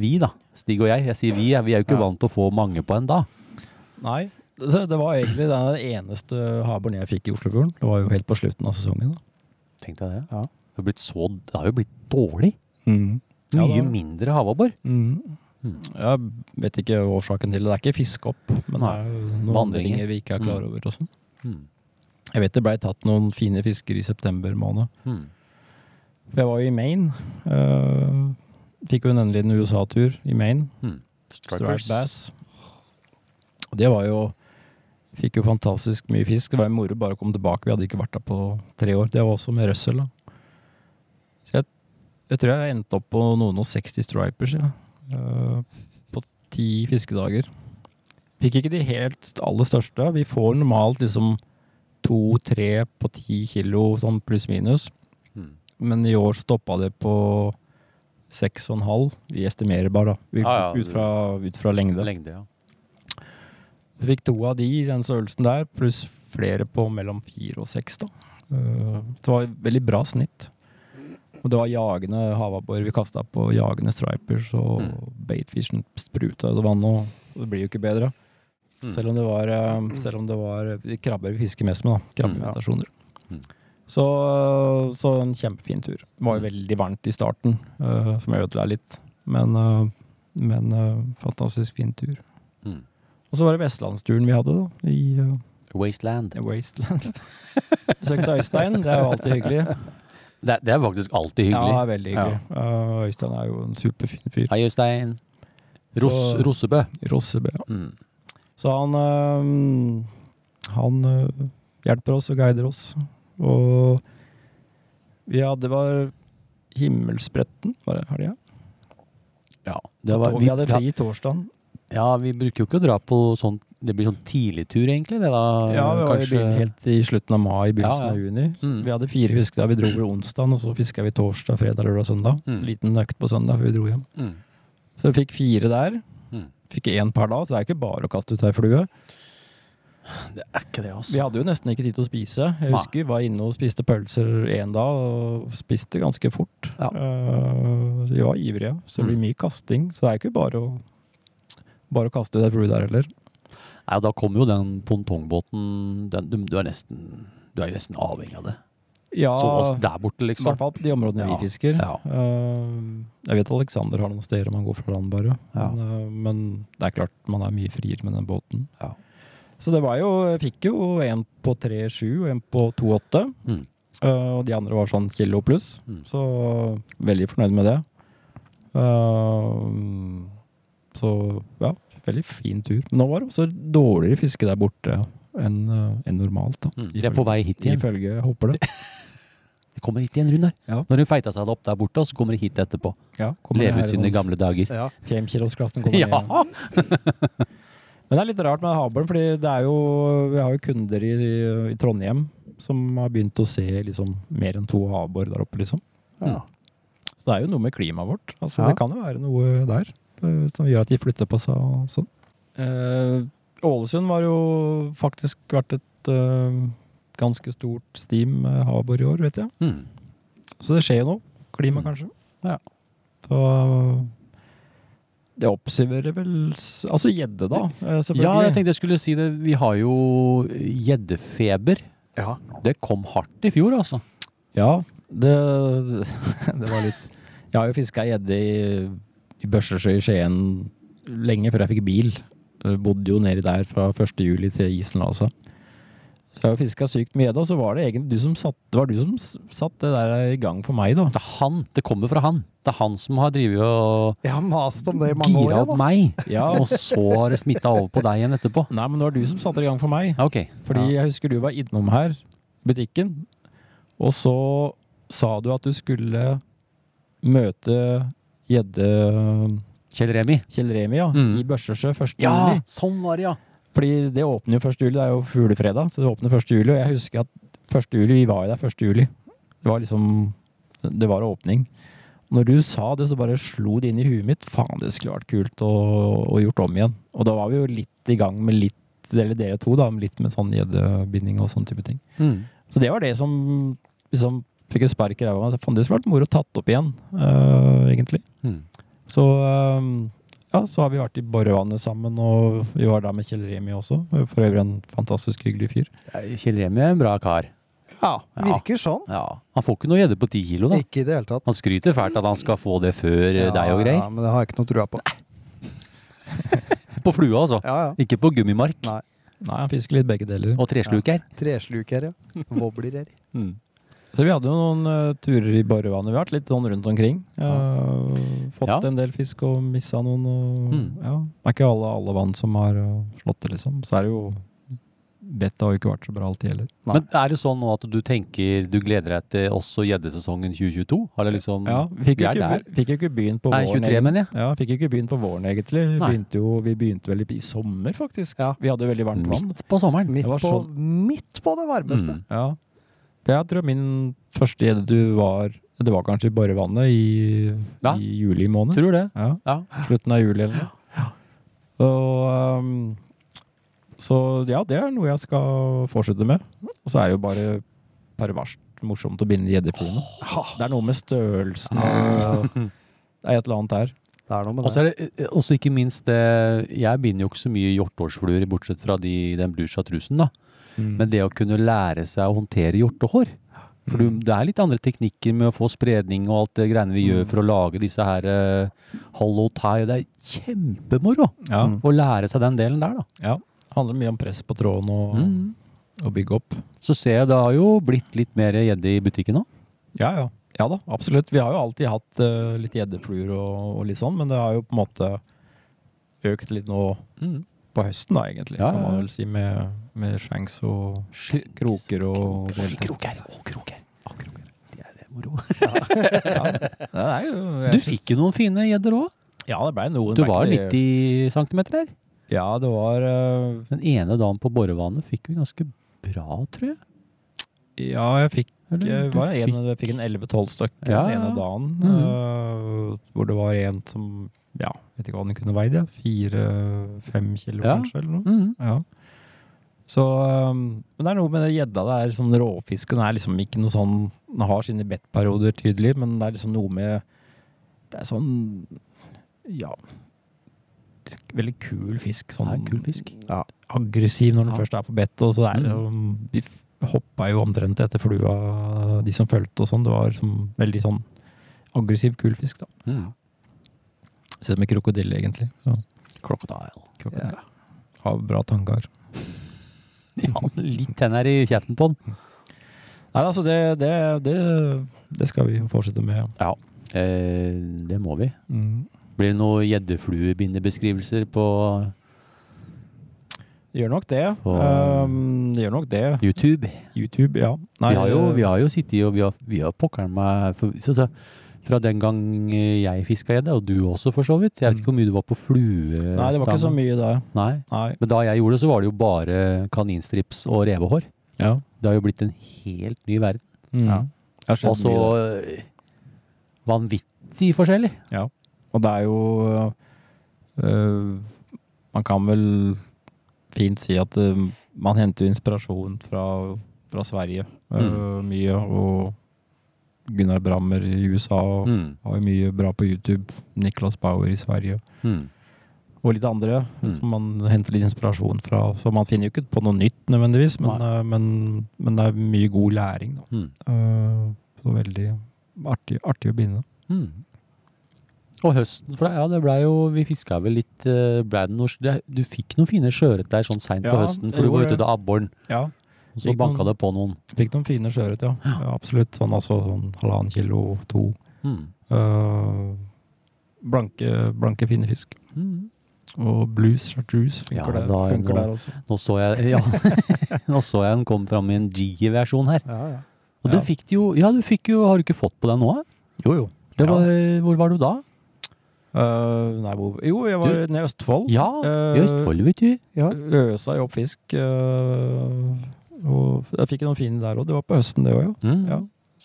Speaker 2: vi, da. Stig og jeg. Jeg sier vi. Vi er jo ikke
Speaker 7: Ja.
Speaker 2: vant til å få mange på en dag.
Speaker 6: Nei, så det var egentlig den eneste havboren jeg fikk i Oslofjorden. Det var jo helt på slutten av sesongen. da.
Speaker 2: Tenk deg det.
Speaker 7: Ja.
Speaker 2: Det, har blitt så, det har jo blitt dårlig.
Speaker 6: Ja,
Speaker 2: Mye
Speaker 6: da-
Speaker 2: mindre havabbor.
Speaker 6: Mm. Jeg vet ikke årsaken til det. Det er ikke fiske opp, men det
Speaker 2: Nei.
Speaker 6: er jo noen
Speaker 2: Vandringer.
Speaker 6: vandringer vi ikke er klar
Speaker 2: Mm.
Speaker 6: over. og sånn.
Speaker 2: Hmm.
Speaker 6: Jeg vet det blei tatt noen fine fisker i september måned.
Speaker 2: Hmm.
Speaker 6: For jeg var jo i Maine. øh, fikk jo en endelig USA-tur i Maine.
Speaker 2: Hmm.
Speaker 6: Striped Bass. Og det var jo Fikk jo fantastisk mye fisk. Det var jo moro bare å komme tilbake. Vi hadde ikke vært der på tre år. Det var også med Russell, da. Så jeg, jeg tror jeg endte opp på noen og 60 stripers, ja. Eh, på ti fiskedager. Fikk ikke de helt aller største. Vi får normalt liksom to-tre på ti kilo, sånn pluss-minus.
Speaker 2: Hmm.
Speaker 6: Men i år stoppa det på seks og en halv. Vi estimerer bare, da. Vi,
Speaker 2: Ja, ja,
Speaker 6: ut, fra, ut fra lengde.
Speaker 2: Lengde, ja.
Speaker 6: Vi fikk to av de i den størrelsen der, pluss flere på mellom fire og seks, da. Eh, Det var et veldig bra snitt. Og det var jagende havabbor vi kasta på, jagende stripers, og
Speaker 2: Mm.
Speaker 6: baitfishen spruta ut av vannet, og det blir jo ikke bedre.
Speaker 2: Mm.
Speaker 6: Selv om det var, eh, selv om det var de krabber vi fisker mest med, da. Krabbevegetasjoner.
Speaker 2: Mm.
Speaker 6: Så, så en kjempefin tur. Det var jo veldig varmt i starten, eh, som ødela litt. Men, eh, men eh, fantastisk fin tur.
Speaker 2: Hmm.
Speaker 6: Og så var det vestlandsturen vi hadde, da. I eh,
Speaker 2: Wasteland.
Speaker 6: Wasteland. Besøkte Øystein, det er jo alltid hyggelig.
Speaker 2: Det, er- det er faktisk alltid
Speaker 6: Ja, det
Speaker 2: hyggelig.
Speaker 6: er veldig hyggelig. Eh, Øystein er jo en superfin fyr.
Speaker 2: Hei, Øystein. Ros,
Speaker 6: Så-
Speaker 2: Rosebø.
Speaker 6: Rossebø. ja.
Speaker 2: Hmm.
Speaker 6: Så han eh, Han eh, hjelper oss og guider oss. Og vi hadde var Himmelspretten, var det helga?
Speaker 2: Ja, det
Speaker 6: Ja?
Speaker 2: var,
Speaker 6: Vi hadde fri torsdag.
Speaker 2: ja, vi bruker jo ikke å dra på sånn Det blir sånn tidligtur, egentlig. Det da,
Speaker 6: Ja, vi var i
Speaker 2: kanskje.
Speaker 6: byen helt i slutten av mai, begynnelsen
Speaker 2: Ja, ja.
Speaker 6: av juni.
Speaker 2: Mm.
Speaker 6: Vi hadde fire fiskedager. Vi dro vel onsdag, og så fiska vi torsdag, fredag, lørdag, søndag.
Speaker 2: Mm.
Speaker 6: Liten økt på søndag før vi dro hjem.
Speaker 2: Mm.
Speaker 6: Så vi fikk fire der.
Speaker 2: Mm.
Speaker 6: Fikk én per dag, så det er ikke bare å kaste ut ei flue.
Speaker 2: Det er ikke det, altså.
Speaker 6: Vi hadde jo nesten ikke tid til å spise. Jeg
Speaker 2: Nei.
Speaker 6: husker vi var inne og spiste pølser én dag, og spiste ganske fort.
Speaker 2: Ja. Mm.
Speaker 6: Eh, vi var ivrige, så det blir mye kasting. Så det er ikke bare å, bare å kaste ut ei flue der heller.
Speaker 2: Nei, og da kommer jo den pongtongbåten den, du, du, er nesten, du er jo nesten avhengig av det.
Speaker 6: Ja,
Speaker 2: Så oss der borte,
Speaker 6: I hvert
Speaker 2: liksom.
Speaker 6: fall på de områdene
Speaker 2: Ja.
Speaker 6: vi fisker.
Speaker 2: Ja.
Speaker 6: Eh, jeg vet Alexander har noen steder man går fra land, bare.
Speaker 2: Ja.
Speaker 6: Men, eh, men det er klart, man er mye friere med den båten.
Speaker 2: Ja.
Speaker 6: Så det var jo Jeg fikk jo en på 3,7 og en på 2,8.
Speaker 2: Mm.
Speaker 6: eh, og de andre var sånn kilo pluss.
Speaker 2: Mm.
Speaker 6: Så veldig fornøyd med det. Eh, så ja, veldig fin tur. Men nå var det også dårligere fiske der borte enn eh, enn normalt. da.
Speaker 2: Mm. De er på vei hit igjen.
Speaker 6: Ifølge jeg håper det.
Speaker 2: De kommer hit igjen, Runar.
Speaker 6: Ja.
Speaker 2: Når hun feita seg opp der borte, så kommer de hit etterpå.
Speaker 6: Ja, kommer
Speaker 2: Leve
Speaker 6: her
Speaker 2: ut sine
Speaker 6: om-
Speaker 2: gamle dager.
Speaker 7: Ja.
Speaker 6: Femkilosklassen kommer
Speaker 2: Ja!
Speaker 6: ned. Men det er litt rart med havbjørn, fordi det er jo, vi har jo kunder i, i Trondheim som har begynt å se liksom, mer enn to havbor der oppe, liksom.
Speaker 7: Ja.
Speaker 6: Så det er jo noe med klimaet vårt. Altså,
Speaker 7: Ja.
Speaker 6: Det kan jo være noe der eh, som gjør at de flytter på seg og sånn. Eh, Ålesund var jo faktisk vært et øh, ganske stort steam øh, havbor i år, vet jeg.
Speaker 2: Mm.
Speaker 6: Så det skjer jo noe. Klima,
Speaker 2: Mm.
Speaker 6: kanskje.
Speaker 2: Ja.
Speaker 6: Så eh, det oppsummerer vel s- Altså gjedde, da. eh, Selvfølgelig.
Speaker 2: Ja, jeg tenkte jeg skulle si det. Vi har jo gjeddefeber.
Speaker 7: Ja.
Speaker 2: Det kom hardt i fjor, altså.
Speaker 6: Ja, det, det var litt Jeg har jo fiska gjedde i, i Børsesjø i Skien lenge før jeg fikk bil. Jeg bodde jo nedi der fra 1. juli til isen la seg. Så jeg har jo fiska sykt med gjedde, og så var det egentlig du som satt, det var du som s- satt det der i gang for meg, da.
Speaker 2: Det er han. Det kommer fra han. Det er han som har drevet og
Speaker 7: Jeg har mast om det i mange år.
Speaker 2: gira
Speaker 7: jeg,
Speaker 2: opp
Speaker 7: da.
Speaker 2: meg,
Speaker 6: Ja,
Speaker 2: og så har det smitta over på deg igjen etterpå.
Speaker 6: Nei, men det var du som satte det i gang for meg.
Speaker 2: Ja, ok.
Speaker 6: Fordi jeg husker du var innom her, butikken, og så sa du at du skulle møte gjedde
Speaker 2: Kjell Remi.
Speaker 6: Kjell Remi, ja.
Speaker 2: Mm.
Speaker 6: I Børsesjø 1.
Speaker 2: Ja,
Speaker 6: juli.
Speaker 2: sånn var det, ja.
Speaker 6: Fordi det åpner jo 1. juli, det er jo fuglefredag, så det åpner 1. juli. Og jeg husker at 1. juli, vi var jo der 1. juli. Det var liksom Det var åpning. Når du sa det, så bare slo det inn i huet mitt. Faen, det skulle vært kult å, å gjort om igjen. Og da var vi jo litt i gang med litt, eller dere to, da, med litt med sånn gjeddebinding og sånn type ting.
Speaker 2: Hmm.
Speaker 6: Så det var det som liksom fikk et spark i ræva. at Faen, det skulle vært moro tatt opp igjen, øh, egentlig.
Speaker 2: Mm.
Speaker 6: Så øhm, ja, så har vi vært i Borrevannet sammen, og vi var der med Kjell Remi også. For øvrig en fantastisk hyggelig fyr.
Speaker 2: Kjell Remi er en bra kar.
Speaker 7: Ja,
Speaker 2: Ja.
Speaker 7: virker sånn.
Speaker 2: Ja. Han får ikke noe gjedde på ti kilo, da.
Speaker 7: Ikke i det hele tatt.
Speaker 2: Han skryter fælt at han skal få det før eh, deg og greier.
Speaker 7: Ja, men det har jeg ikke noe trua på.
Speaker 2: På flua, altså.
Speaker 7: Ja, ja.
Speaker 2: Ikke på gummimark
Speaker 7: Nei.
Speaker 6: Nei, han fisker litt begge deler.
Speaker 2: og tresluker.
Speaker 7: Tresluker, ja. Wobbler her.
Speaker 6: Så vi hadde jo noen øh, turer i Borrevannet. Vi har vært litt sånn rundt omkring. Øh, fått
Speaker 2: Ja.
Speaker 6: en del fisk og missa noen. Og,
Speaker 2: Mm.
Speaker 6: ja. Det er ikke alle, alle vann som har øh, slått det, liksom. Så er det jo Bettet har jo ikke vært så bra alltid heller.
Speaker 7: Nei.
Speaker 2: Men er det sånn nå at du tenker du gleder deg til også gjeddesesongen 2022? Har det liksom
Speaker 6: Ja, fikk
Speaker 2: vi
Speaker 6: jo
Speaker 2: er
Speaker 6: ikke,
Speaker 2: der.
Speaker 6: be- fikk jo ikke begynt på
Speaker 2: Nei,
Speaker 6: våren.
Speaker 2: 23, mener jeg.
Speaker 6: Ja, fikk jo ikke begynt på våren egentlig. Vi
Speaker 2: Nei.
Speaker 6: begynte, jo, vi begynte vel i, i sommer, faktisk.
Speaker 7: Ja.
Speaker 6: Vi hadde jo veldig varmt vann.
Speaker 2: Midt på sommeren.
Speaker 7: Midt
Speaker 6: var
Speaker 7: på, midt på det varmeste.
Speaker 2: sånn. Mm.
Speaker 6: Ja. Jeg tror min første gjeddetur var Det var kanskje bare vannet i,
Speaker 2: Ja.
Speaker 6: i juli måned.
Speaker 2: Mm. Tror det.
Speaker 6: Ja.
Speaker 2: Ja.
Speaker 6: Slutten av juli eller noe. Og, ehm, så ja, det er noe jeg skal fortsette med. Og så er det jo bare perverst morsomt å binde gjeddefilene. Det er noe med størrelsen og Det er et eller annet der.
Speaker 7: Det er noe med
Speaker 2: Og så
Speaker 7: det.
Speaker 2: er det eh, også ikke minst det Jeg binder jo ikke så mye hjortehårsfluer, bortsett fra de, den blusja trusen, da.
Speaker 7: Mm.
Speaker 2: Men det å kunne lære seg å håndtere hjortehår For du,
Speaker 7: Mm.
Speaker 2: det er litt andre teknikker med å få spredning og alt det greiene vi
Speaker 7: Mm.
Speaker 2: gjør for å lage disse her eh, hollow tie. Det er kjempemoro
Speaker 6: Ja.
Speaker 7: Mm.
Speaker 2: å lære seg den delen der, da.
Speaker 6: ja. Handler mye om press på tråden og,
Speaker 2: Mm.
Speaker 6: og bygge opp.
Speaker 2: Så ser jeg det har jo blitt litt mer gjedde i butikken nå.
Speaker 6: Ja, ja. Ja da, absolutt. Vi har jo alltid hatt eh, litt gjeddefluer og, og litt sånn, men det har jo på en måte økt litt nå
Speaker 7: Mm.
Speaker 6: på høsten, da, egentlig,
Speaker 2: Ja,
Speaker 6: kan
Speaker 2: ja,
Speaker 6: man
Speaker 2: ja.
Speaker 6: vel si, med, med shanks og k-
Speaker 2: Shanks,
Speaker 6: kroker og
Speaker 2: Kroker og kroker. Det er det moro.
Speaker 6: Ja, det er jo- jeg
Speaker 2: Du
Speaker 6: synes-
Speaker 2: fikk jo noen fine gjedder òg.
Speaker 6: Ja, det ble noen.
Speaker 2: Du
Speaker 6: det ble
Speaker 2: var
Speaker 6: ikke-
Speaker 2: 90 cm der.
Speaker 6: Ja, det var eh,
Speaker 2: Den ene dagen på Borrevannet fikk vi ganske bra, tror jeg.
Speaker 6: Ja, jeg fikk,
Speaker 2: Eller
Speaker 6: jeg
Speaker 2: du
Speaker 6: var en,
Speaker 2: fikk-
Speaker 6: jeg fikk en 11-12 stykk
Speaker 2: Ja,
Speaker 6: den ene
Speaker 2: ja. Mm.
Speaker 6: dagen. øh, hvor det var en som Ja, vet ikke hva den kunne veid. Ja. Fire-fem kilo
Speaker 2: Ja.
Speaker 6: kanskje, eller noe.
Speaker 2: Mhm.
Speaker 6: Ja. Så, øh, men det er noe med det gjedda. Det er sånn råfisken er liksom ikke noe sånn Den har sine bettperioder, tydelig, men det er liksom noe med Det er sånn Ja. Veldig kul fisk. Sånn
Speaker 2: Det er en kul fisk.
Speaker 7: Ja.
Speaker 6: aggressiv når den
Speaker 2: Ja.
Speaker 6: først er på bettet. Og så er det jo Vi f- hoppa jo omtrent etter flua, de som fulgte og sånn. Det var som, veldig sånn aggressiv, kul fisk, da.
Speaker 2: Mm.
Speaker 6: Ser ut som en krokodille, egentlig. Ja.
Speaker 2: Crocodile.
Speaker 6: Krokodille. Har bra tanker.
Speaker 2: Ja, litt tenner i kjeften på den.
Speaker 6: Nei, altså, det, det, det, det skal vi jo fortsette med. ja.
Speaker 2: Eh, det må vi. Blir det noen gjeddefluebindebeskrivelser på
Speaker 6: Gjør nok det.
Speaker 2: Og-
Speaker 6: Ehm, gjør nok det.
Speaker 2: YouTube?
Speaker 6: YouTube, ja. Nei, eh,
Speaker 2: vi, har jo, vi har jo sittet og vi har, vi har pokkeren meg for, så, så, Fra den gang eh, jeg fiska gjedde, og du også for så vidt. Jeg vet ikke hvor mye du var på fluestangen.
Speaker 6: Mm. Nei, det var ikke så mye da.
Speaker 2: Nei.
Speaker 6: Nei.
Speaker 2: Men da jeg gjorde det, så var det jo bare kaninstrips og revehår.
Speaker 6: Ja.
Speaker 2: Det har jo blitt en helt ny verden.
Speaker 6: Mm.
Speaker 7: Ja.
Speaker 6: Det har skjedd
Speaker 2: Og så
Speaker 6: mye da.
Speaker 2: eh, vanvittig forskjellig.
Speaker 6: Og det er jo øh, Man kan eh, vel fint si at eh, man henter jo inspirasjon fra, fra Sverige eh,
Speaker 2: Mm.
Speaker 6: mye, og Gunnar Brammer i USA og
Speaker 2: Mm.
Speaker 6: har jo mye bra på YouTube. Niklas Bauer i Sverige
Speaker 2: Mm.
Speaker 6: og litt andre,
Speaker 2: Mm.
Speaker 6: som man henter litt inspirasjon fra. Så man finner jo ikke på noe nytt nødvendigvis, men, eh, men, men det er mye god læring, da.
Speaker 2: Mm.
Speaker 6: Eh, Så veldig artig, artig å begynne.
Speaker 2: Mm. Og høsten for deg, ja, det ble jo Vi fiska vel litt eh, ble det noe, det, Du fikk noen fine sjøørret der sånn seint på
Speaker 6: Ja,
Speaker 2: høsten,
Speaker 6: det
Speaker 2: for du var
Speaker 6: gjorde
Speaker 2: ute til abboren,
Speaker 6: Ja,
Speaker 2: og så
Speaker 6: Fikk
Speaker 2: banka
Speaker 6: noen-
Speaker 2: det på noen.
Speaker 6: fikk noen fine sjøørret, ja. ja. Absolutt. Sånn altså sånn halvannen kilo, to.
Speaker 2: Mm.
Speaker 6: Eh, blanke, blanke fine fisk.
Speaker 2: Mm.
Speaker 6: Og blues, chartreuse, funker,
Speaker 2: Ja,
Speaker 6: der-
Speaker 2: da er
Speaker 6: funker
Speaker 2: noe-
Speaker 6: der også.
Speaker 2: Nå så jeg ja, Nå så jeg den kom fram i en G-versjon her.
Speaker 7: Ja, ja.
Speaker 2: Og det
Speaker 6: Ja.
Speaker 2: fikk du jo Ja, du fikk jo Har du ikke fått på den nå? eh?
Speaker 6: Jo, jo.
Speaker 2: Det var, Hvor var du da?
Speaker 6: Eh, nei, hvor Jo, jeg var
Speaker 2: Du-
Speaker 6: nede i Østfold.
Speaker 2: Ja, i
Speaker 6: Eh,
Speaker 2: Østfold, vet du.
Speaker 7: Ja.
Speaker 6: Øsa jo opp fisk. eh, og jeg fikk noen fine der òg. Det var på høsten, det òg, ja.
Speaker 2: Mm.
Speaker 6: ja.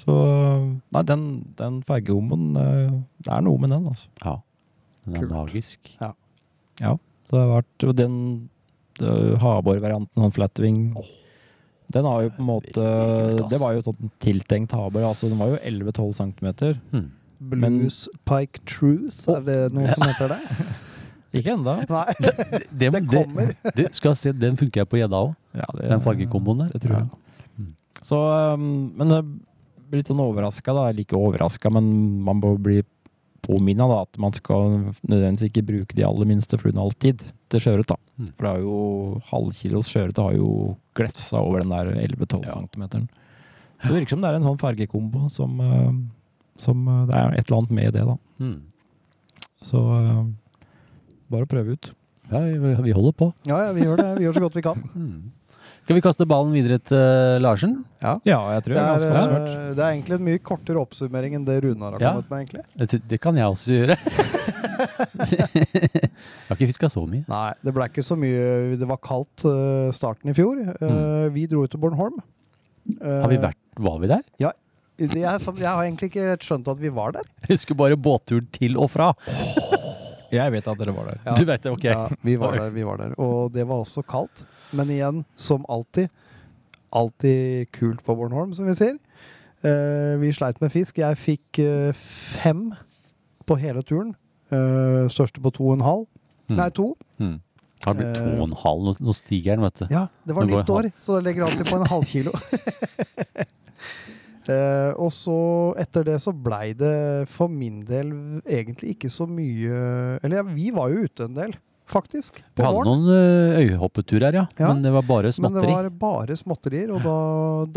Speaker 6: Så eh, Nei, den, den fergehommen eh, Det er noe med den, altså.
Speaker 2: Ja. Den er
Speaker 6: Kult.
Speaker 2: magisk.
Speaker 6: Det har vært og den det- havborvarianten, sånn flatwing Den har jo på en måte
Speaker 2: Veldig kult, ass.
Speaker 6: Det var jo sånn tiltenkt havbor. Altså, den var jo 11-12 cm.
Speaker 2: Mm.
Speaker 7: Blues Pike Truth, er det noe som heter det?
Speaker 6: Ikke ennå.
Speaker 7: Nei.
Speaker 2: Det,
Speaker 7: kommer.
Speaker 2: det, skal jeg se, den funker jeg på gjedda òg,
Speaker 6: Ja, det-
Speaker 2: den fargekomboen der.
Speaker 6: Det tror jeg.
Speaker 2: Mm.
Speaker 6: Så, um, men jeg blir litt sånn overraska, da. Eller ikke overraska, men man må bli påminna da, at man skal nødvendigvis ikke bruke de aller minste fluene alltid til sjøørret. da.
Speaker 2: Mm.
Speaker 6: For det er jo halvkilos sjøørret har jo glefsa over den der 11-12 centimeteren. Det virker som det er en sånn fargekombo som, uh, som uh, Det er et eller annet med det, da.
Speaker 2: Mm.
Speaker 6: Så uh, bare prøve ut.
Speaker 2: Ja, vi, vi holder på.
Speaker 7: Ja, ja, vi gjør det. Vi gjør så godt vi kan.
Speaker 2: Hmm. Skal vi kaste ballen videre til eh, Larsen?
Speaker 6: Ja, jeg
Speaker 7: Det
Speaker 6: tror det
Speaker 7: er,
Speaker 6: er ganske oppsummert.
Speaker 7: eh, det er egentlig en mye kortere oppsummering enn det Runar har
Speaker 2: Ja.
Speaker 7: kommet med, egentlig.
Speaker 2: Det, tr- det kan jeg også gjøre. jeg har ikke fiska så mye.
Speaker 7: Nei, det ble ikke så mye Det var kaldt eh, starten i fjor. Eh, Vi dro ut til Bornholm. Eh,
Speaker 2: Mm. Har vi vært, Var vi der?
Speaker 7: Jeg, jeg har egentlig ikke helt skjønt at vi var der.
Speaker 2: Jeg husker bare båtturen til og fra.
Speaker 6: Jeg vet at dere var der.
Speaker 7: Ja.
Speaker 2: Du vet det, ok.
Speaker 7: Ja, vi var der, vi var der. Og det var også kaldt. Men igjen, som alltid, alltid kult på Bornholm, som vi sier. Eh, vi sleit med fisk. Jeg fikk eh, fem på hele turen. Eh, største på to og en halv.
Speaker 2: Mm.
Speaker 7: Nei, to.
Speaker 2: Mm. Har det blitt to og en halv? Nå, nå stiger den, vet du.
Speaker 7: Ja, det var
Speaker 2: Men går
Speaker 7: nytt år, så da legger det alltid på en halvkilo. Eh, og så etter det så blei det for min del egentlig ikke så mye Eller ja, vi var jo ute en del, faktisk.
Speaker 2: Vi
Speaker 7: på
Speaker 2: hadde
Speaker 7: våren.
Speaker 2: noen ø, øyhoppeturer, ja.
Speaker 7: Ja.
Speaker 2: Men det var bare
Speaker 7: Men det
Speaker 2: småtteri.
Speaker 7: var bare småtterier, og da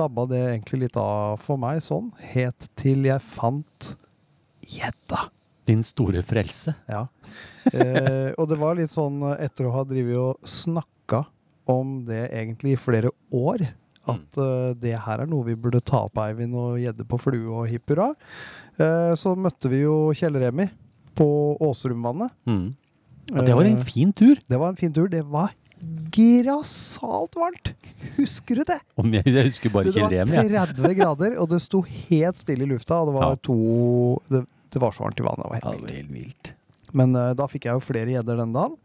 Speaker 7: dabba det egentlig litt av for meg sånn. Helt til jeg fant gjedda.
Speaker 2: Din store frelse.
Speaker 7: Ja. Eh, og det var litt sånn, eh, etter å ha drevet og snakka om det egentlig i flere år, at eh, det her er noe vi burde ta opp, Eivind, og gjedde på flue og hipp hurra, eh, så møtte vi jo Kjell Remi på Åsrumvannet.
Speaker 2: Mm. Ja, det var en
Speaker 7: Eh,
Speaker 2: fin tur.
Speaker 7: det var en fin tur. Det var grassat varmt! Husker du det?
Speaker 2: Om jeg, jeg husker
Speaker 7: Du,
Speaker 2: bare
Speaker 7: det
Speaker 2: Kjell
Speaker 7: var
Speaker 2: Remi. jeg.
Speaker 7: 30 grader, og det sto helt stille i lufta, og det var
Speaker 2: Ja.
Speaker 7: to det, det var så varmt i vannet. Det var helt
Speaker 2: Ja,
Speaker 7: vilt.
Speaker 2: det var helt vilt.
Speaker 7: Men eh, da fikk jeg jo flere gjedder den dagen.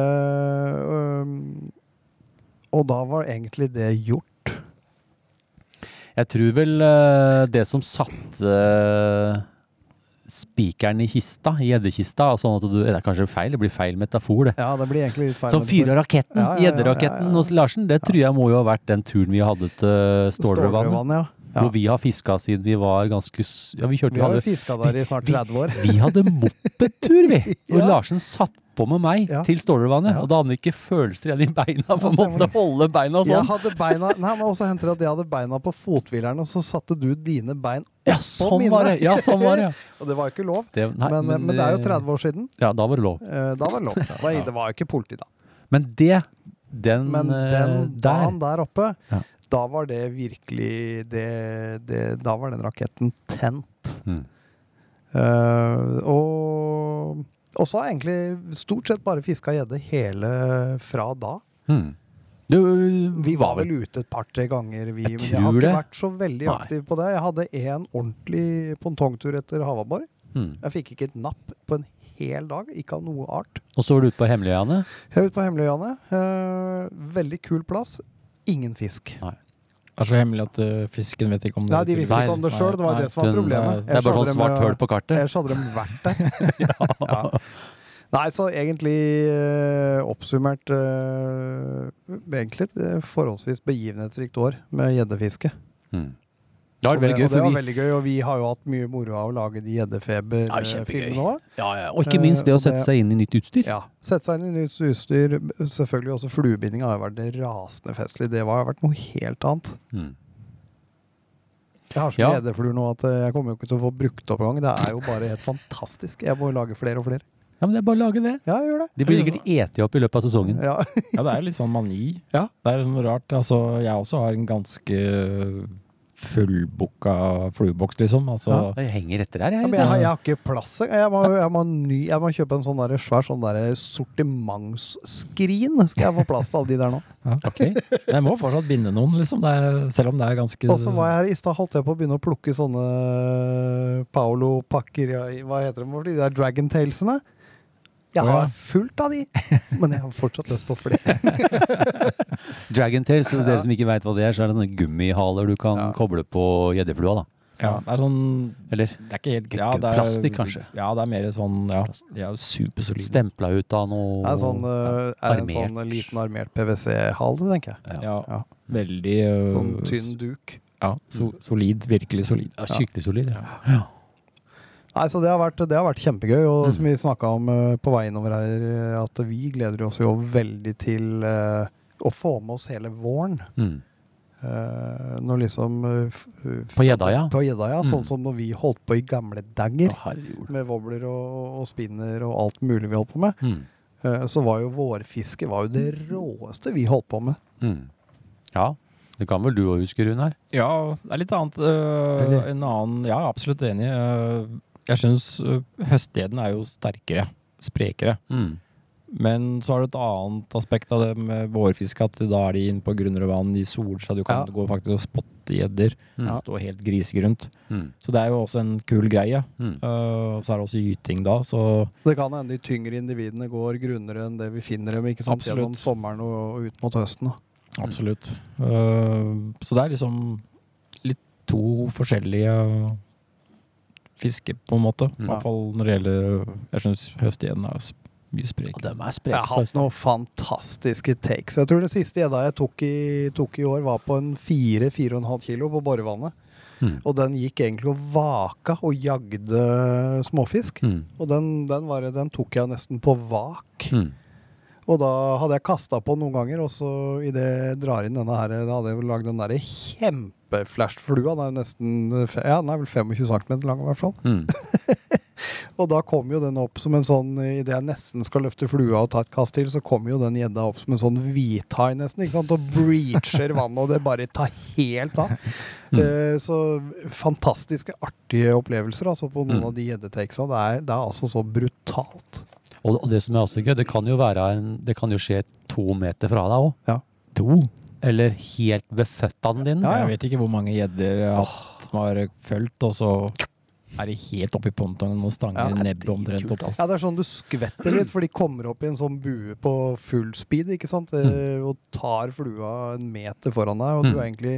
Speaker 7: Eh, um, og da var egentlig det gjort.
Speaker 2: Jeg tror vel eh, det som satte eh, spikeren i kista, i gjeddekista, sånn at du Det er kanskje feil, det blir feil metafor, det.
Speaker 7: Ja, det blir egentlig litt feil.
Speaker 2: Som fyrer raketten,
Speaker 7: Ja, ja, ja, ja,
Speaker 2: gjedderaketten
Speaker 7: ja.
Speaker 2: hos Larsen. Det tror jeg må jo ha vært den turen vi hadde til Stålerudvannet.
Speaker 7: Stålrødvannet, ja. ja.
Speaker 2: Hvor vi har fiska siden vi var ganske s- Ja, vi kjørte
Speaker 7: Vi har jo
Speaker 2: hadde,
Speaker 7: fiska der i snart 30 år.
Speaker 2: Vi hadde moppetur, vi! Hvor
Speaker 7: Ja.
Speaker 2: Larsen satt på med meg
Speaker 7: Ja.
Speaker 2: til Stålerudvannet.
Speaker 7: Ja.
Speaker 2: Og da hadde han ikke følelser igjen i beina, for
Speaker 7: Ja,
Speaker 2: han måtte
Speaker 7: stemmer.
Speaker 2: holde beina
Speaker 7: Jeg
Speaker 2: sånn.
Speaker 7: hadde beina Nei, men også henter det at jeg hadde beina på fothvileren, og så satte du dine bein
Speaker 2: Ja,
Speaker 7: på
Speaker 2: sånn
Speaker 7: minnet.
Speaker 2: var det! Ja, sånn var det. ja.
Speaker 7: Og det var jo ikke lov.
Speaker 2: Det, nei, eh,
Speaker 7: men, eh, men, det er jo 30 år siden.
Speaker 2: Ja, da var det lov.
Speaker 7: Eh, Da var det lov. Det var, det var jo ikke politi da.
Speaker 2: Men det Den,
Speaker 7: Men
Speaker 2: eh, der
Speaker 7: den dagen der oppe,
Speaker 2: Ja.
Speaker 7: da var det virkelig det, det, Da var den raketten tent.
Speaker 2: Mm.
Speaker 7: Eh, og, og så har jeg egentlig stort sett bare fiska gjedde hele fra da.
Speaker 2: hmm. Du
Speaker 7: Vi var vel ute et par-tre ganger, vi.
Speaker 2: Mm. Jeg
Speaker 7: Men jeg har
Speaker 2: tror
Speaker 7: ikke
Speaker 2: det.
Speaker 7: vært så veldig
Speaker 2: Nei.
Speaker 7: aktiv på det. Jeg hadde én ordentlig pongtongtur etter Havaborg.
Speaker 2: hmm.
Speaker 7: Jeg fikk ikke et napp på en hel dag, ikke av noe art.
Speaker 2: Og så var du ute på Hemmeløyane.
Speaker 7: Jeg er ute på Hemmeløyane. Eh, veldig kul plass. Ingen fisk.
Speaker 6: Det er så hemmelig at eh, fisken vet ikke om det.
Speaker 7: Nei, de visste
Speaker 2: Nei,
Speaker 7: ikke om det sjøl. Det var
Speaker 6: nei,
Speaker 7: det som var
Speaker 2: den,
Speaker 7: problemet.
Speaker 2: Det er bare
Speaker 7: Ellers
Speaker 2: sånn
Speaker 7: hadde de,
Speaker 2: svart høl på kartet.
Speaker 7: Ellers hadde de vært der. Ja. Nei, så egentlig eh, oppsummert eh, Egentlig et eh, forholdsvis begivenhetsrikt år med gjeddefiske.
Speaker 2: Mm. Det var
Speaker 7: Så det-
Speaker 2: veldig gøy,
Speaker 7: og det
Speaker 2: for
Speaker 7: var
Speaker 2: vi
Speaker 7: veldig gøy, og vi har jo hatt mye moro av å lage de
Speaker 2: Ja,
Speaker 7: eh,
Speaker 2: kjempegøy.
Speaker 7: gjeddefeber-filmene òg.
Speaker 2: ja, ja. Og ikke minst det
Speaker 7: Eh,
Speaker 2: å
Speaker 7: og
Speaker 2: sette
Speaker 7: det-
Speaker 2: seg inn i nytt utstyr.
Speaker 7: Ja. Sette seg inn i nytt utstyr. Selvfølgelig også fluebinding har jo vært rasende festlig. Det var- har vært noe helt annet.
Speaker 2: Mm.
Speaker 7: Jeg har så
Speaker 2: Ja.
Speaker 7: mye gjeddefluer nå at eh, jeg kommer jo ikke til å få brukt opp engang. Det er jo bare helt fantastisk. Jeg må jo lage flere og flere.
Speaker 2: Ja, men det er bare å lage det.
Speaker 7: Ja, jeg gjør det.
Speaker 2: De blir sikkert eti opp i løpet av sesongen.
Speaker 7: Ja.
Speaker 6: Ja, det er litt sånn mani.
Speaker 7: Ja.
Speaker 6: Det er noe rart. Altså, jeg også har en ganske fullbooka flueboks, liksom. Altså,
Speaker 2: Ja, jeg henger etter her,
Speaker 7: Ja,
Speaker 2: jeg.
Speaker 7: men jeg, har- jeg har ikke plass. Jeg Jeg må, jeg må, ny, jeg må kjøpe en sånn der svær sånn der sortimentsskrin. Skal jeg få plass til alle de der nå?
Speaker 6: Ja, ok. Men Jeg må fortsatt binde noen, liksom. Det er, selv om det er ganske
Speaker 7: Og så var jeg her i stad, holdt jeg på å begynne å plukke sånne Paolo-pakker ja, i- Hva heter de for de der Dragon Tales-ene? Jeg
Speaker 6: Å, ja.
Speaker 7: har fullt av de, men jeg har fortsatt lyst på flere.
Speaker 2: Dragon Tales, og dere som ikke veit hva det er, så er det sånne gummihaler du kan
Speaker 7: Ja.
Speaker 2: koble på gjeddeflua, da.
Speaker 6: ja, det er sånn
Speaker 2: Eller
Speaker 6: Det er ikke helt
Speaker 2: Ikke plastikk, kanskje?
Speaker 6: Ja, det er mer sånn Ja, de er jo supersolide.
Speaker 2: stempla ut av noe
Speaker 7: Det er, sånn, eh, er en
Speaker 2: Armert.
Speaker 7: sånn liten armert PwC-hale, tenker jeg.
Speaker 6: Ja.
Speaker 7: Ja.
Speaker 6: Veldig øh,
Speaker 7: Sånn tynn Mm. duk.
Speaker 6: Ja, so, solid. Virkelig solid.
Speaker 2: Ja, skikkelig solid. Ja.
Speaker 7: Nei, så det har vært, det har vært kjempegøy, og som vi snakka om eh, på vei innover her, eh, at vi gleder oss jo veldig til eh, å få med oss hele våren.
Speaker 2: Mm.
Speaker 7: Eh, når liksom eh, f- f-
Speaker 2: På gjedda, ja.
Speaker 7: På gjedda, ja. Sånn
Speaker 2: Mm.
Speaker 7: som når vi holdt på i gamle dager.
Speaker 2: Å, herregud.
Speaker 7: Med wobbler og, og spinner og alt mulig vi holdt på med.
Speaker 2: Mm.
Speaker 7: eh, Så var jo vårfiske var jo det råeste vi holdt på med.
Speaker 2: Mm. Ja, det kan vel du òg huske, Runar?
Speaker 6: Ja, det er litt annet. øh,
Speaker 2: Eller?
Speaker 6: en annen Ja, absolutt enig. øh, jeg syns øh, høstgjeden er jo sterkere. Sprekere.
Speaker 2: Mm.
Speaker 6: Men så har du et annet aspekt av det med vårfiske, at da er de inne på grunnere vann, de soler seg, du kan
Speaker 7: Ja.
Speaker 6: gå faktisk og spotte gjedder.
Speaker 2: Ja.
Speaker 6: Stå helt grisegrunt.
Speaker 2: Mm.
Speaker 6: Så det er jo også en kul greie.
Speaker 2: Mm.
Speaker 6: Uh, og så er det også gyting da, så
Speaker 7: Det kan hende de tyngre individene går grunnere enn det vi finner dem ikke sant?
Speaker 6: Absolutt.
Speaker 7: gjennom sommeren og, og ut mot høsten. da.
Speaker 6: absolutt. Uh, så det er liksom litt to forskjellige fiske, på en måte.
Speaker 7: Mm.
Speaker 6: I
Speaker 2: Ja.
Speaker 6: hvert fall når det gjelder Jeg syns høstgjedden er s- mye sprek.
Speaker 2: De er
Speaker 7: Jeg har hatt noen fantastiske takes. Jeg tror den siste gjedda jeg tok i, tok i år, var på en 4-4,5 kilo på borevannet.
Speaker 2: Mm.
Speaker 7: Og den gikk egentlig og vaka og jagde småfisk.
Speaker 2: Mm.
Speaker 7: Og den, den, var, den tok jeg nesten på vak.
Speaker 2: Mm.
Speaker 7: Og da hadde jeg kasta på noen ganger, og så idet jeg drar inn denne her, da hadde jeg vel lagd den derre kjempeflashflua. Den er jo nesten fe- ja, den er vel 25 cm lang, i hvert fall.
Speaker 2: Mm.
Speaker 7: Og da kom jo den opp som en sånn Idet jeg nesten skal løfte flua og ta et kast til, så kommer jo den gjedda opp som en sånn hvithai, nesten, ikke sant, og breacher vannet, og det bare tar helt av. Eh, så fantastiske, artige opplevelser altså på noen
Speaker 2: Mm.
Speaker 7: av de gjeddetakesa. Det, er- det er altså så brutalt.
Speaker 2: Og, og det som er også gøy, det kan jo, være en, det kan jo skje to meter fra deg òg.
Speaker 7: Ja.
Speaker 2: To? Eller helt ved føttene dine.
Speaker 7: Ja, ja.
Speaker 6: Jeg vet ikke hvor mange gjedder jeg har hatt som har fulgt, og så er de helt oppi pontongen og stanger
Speaker 7: Ja,
Speaker 6: ja, nebbet omtrent opp.
Speaker 7: Ja, det er sånn du skvetter litt, for de kommer opp i en sånn bue på full speed, ikke sant? Eh, Og tar flua en meter foran deg, og du er egentlig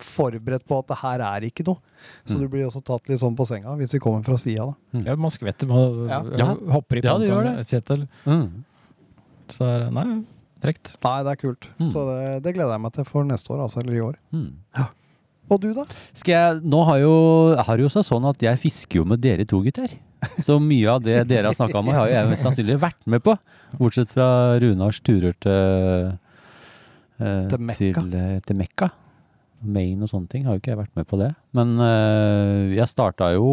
Speaker 7: forberedt på at det her er ikke noe. Så du blir også tatt litt sånn på senga hvis vi kommer fra sida, da.
Speaker 6: Ja, man skvetter, man
Speaker 7: Ja.
Speaker 2: Ja.
Speaker 6: hopper i
Speaker 2: Ja, det gjør
Speaker 6: pontongen, Kjetil.
Speaker 2: Mm.
Speaker 6: Så er det Nei, frekt.
Speaker 7: Nei, det er kult.
Speaker 2: Mm.
Speaker 7: Så det, det gleder jeg meg til for neste år, altså. Eller i år.
Speaker 2: Mm.
Speaker 7: Og du, da?
Speaker 2: Skal jeg, nå har jo, har jo seg sånn at jeg fisker jo med dere to gutter. Så mye av det dere har snakka om, har jo jeg mest sannsynlig vært med på. Bortsett fra Runars turer til eh,
Speaker 7: Til Mekka.
Speaker 2: Til, eh, til Mekka. Maine og sånne ting har jo ikke jeg vært med på det. Men eh, jeg starta jo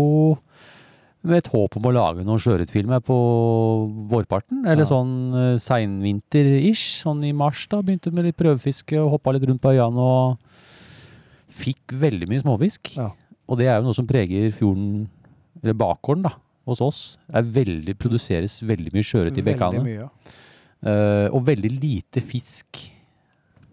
Speaker 2: med et håp om å lage noen sjøørretfilm her på vårparten. Eller sånn eh, seinvinter-ish. Sånn i mars, da. Begynte med litt prøvefiske og hoppa litt rundt på øyene og fikk veldig mye småfisk.
Speaker 7: Ja.
Speaker 2: Og det er jo noe som preger fjorden, eller bakgården, da, hos oss. Det er veldig, produseres veldig mye sjøørret i bekkene.
Speaker 7: mye.
Speaker 2: eh, og veldig lite fisk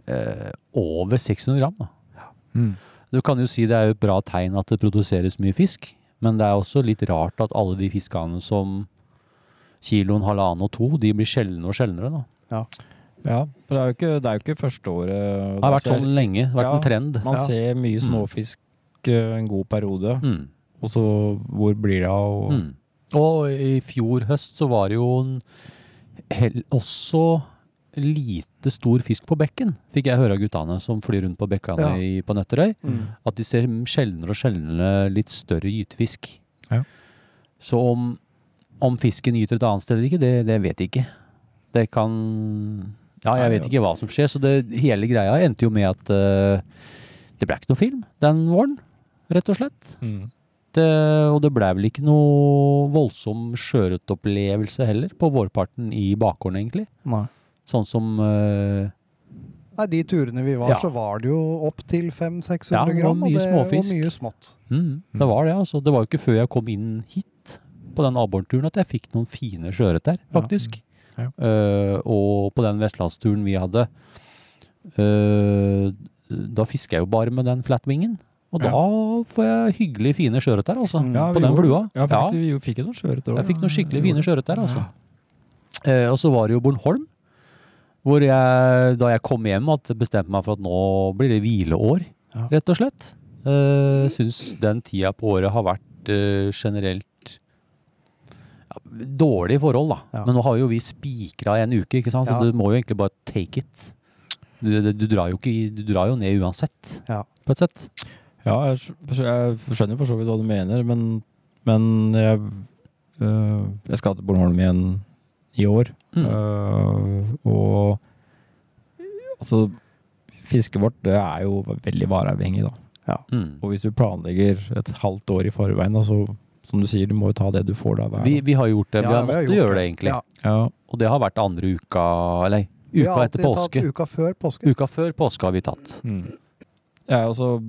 Speaker 2: eh, over 600 gram. Da.
Speaker 6: Mm.
Speaker 2: Du kan jo si det er jo et bra tegn at det produseres mye fisk, men det er også litt rart at alle de fiskene som kiloen halvannen og to, de blir sjeldnere og sjeldnere. da.
Speaker 6: Ja, for det er jo ikke, det er jo ikke første året.
Speaker 2: Det har vært sånn lenge. Det har vært
Speaker 6: Altså, Ja.
Speaker 2: en trend.
Speaker 6: Man
Speaker 7: Ja.
Speaker 6: ser mye småfisk eh, en god periode,
Speaker 2: Mm.
Speaker 6: og så hvor blir det av? Og,
Speaker 2: Mm. Og i fjor høst så var det jo en hel, også lite stor fisk på bekken, fikk jeg høre av guttene som flyr rundt på bekkene
Speaker 7: Ja.
Speaker 2: i, på Nøtterøy.
Speaker 7: Mm.
Speaker 2: At de ser sjeldnere og sjeldnere litt større gytefisk.
Speaker 6: Ja.
Speaker 2: Så om, om fisken gyter et annet sted eller ikke, det, det vet jeg ikke. Det kan Ja, jeg
Speaker 6: Nei,
Speaker 2: vet ikke hva som skjer, så det, hele greia endte jo med at eh, det ble ikke noe film den våren, rett og slett.
Speaker 6: Mm.
Speaker 2: Det, og det blei vel ikke noe voldsom sjøørretopplevelse heller, på vårparten i bakgården, egentlig.
Speaker 7: Nei.
Speaker 2: Sånn som eh,
Speaker 7: Nei, de turene vi var,
Speaker 2: Ja.
Speaker 7: så var det jo opp til 500-600
Speaker 2: Ja, det var
Speaker 7: gram, og,
Speaker 2: mye
Speaker 7: det, og
Speaker 2: småfisk.
Speaker 7: mye smått.
Speaker 2: mm, Det var det, altså. Det var jo ikke før jeg kom inn hit på den abborturen at jeg fikk noen fine sjøørret der,
Speaker 7: Ja.
Speaker 2: faktisk.
Speaker 6: Ja.
Speaker 2: Eh, og på den vestlandsturen vi hadde, eh, da fisker jeg jo bare med den flatwingen. Og
Speaker 6: Ja.
Speaker 2: da får jeg hyggelig fine sjøørret der, altså.
Speaker 7: Mm.
Speaker 6: Ja,
Speaker 2: på
Speaker 6: vi
Speaker 2: den
Speaker 6: gjorde-
Speaker 2: flua.
Speaker 6: Ja, faktisk, vi jo- fikk jo noen sjøørret
Speaker 2: Jeg fikk noen skikkelig
Speaker 6: vi
Speaker 2: fine
Speaker 6: gjorde
Speaker 2: sjøørret der, altså. Eh, og så var det jo Bornholm, hvor jeg, da jeg kom hjem, at jeg bestemte meg for at nå blir det hvileår,
Speaker 7: Ja.
Speaker 2: rett og slett.
Speaker 7: Mm.
Speaker 2: Eh, Syns den tida på året har vært eh, generelt ja, dårlige forhold, da.
Speaker 7: Ja.
Speaker 2: Men nå har jo vi spikra en uke, ikke sant? så
Speaker 7: Ja.
Speaker 2: du må jo egentlig bare take it. Du, du, du, drar, jo ikke, i- du drar jo ned uansett,
Speaker 7: Ja.
Speaker 2: på et sett.
Speaker 6: Ja, jeg, skj- jeg skjønner for så vidt hva du mener, men, men jeg, øh, jeg skal til Bornholm igjen i år.
Speaker 2: Mm.
Speaker 6: Øh, og altså, fisket vårt det er jo veldig vareavhengig, da.
Speaker 2: Mm.
Speaker 6: Og hvis du planlegger et halvt år i forveien, da, så som du sier, du må jo ta det du får da. hver
Speaker 2: Vi, vi har gjort det.
Speaker 7: Ja,
Speaker 2: vi har
Speaker 7: vi har
Speaker 2: måttet
Speaker 7: gjort
Speaker 2: gjøre det,
Speaker 7: det.
Speaker 2: egentlig.
Speaker 7: Ja.
Speaker 6: Ja,
Speaker 2: Og det har vært andre uka, eller
Speaker 7: Vi har
Speaker 2: uka etter
Speaker 7: alltid
Speaker 2: påske.
Speaker 7: Tatt uka før påske.
Speaker 2: Uka før påske har vi tatt.
Speaker 6: Mm. Jeg er også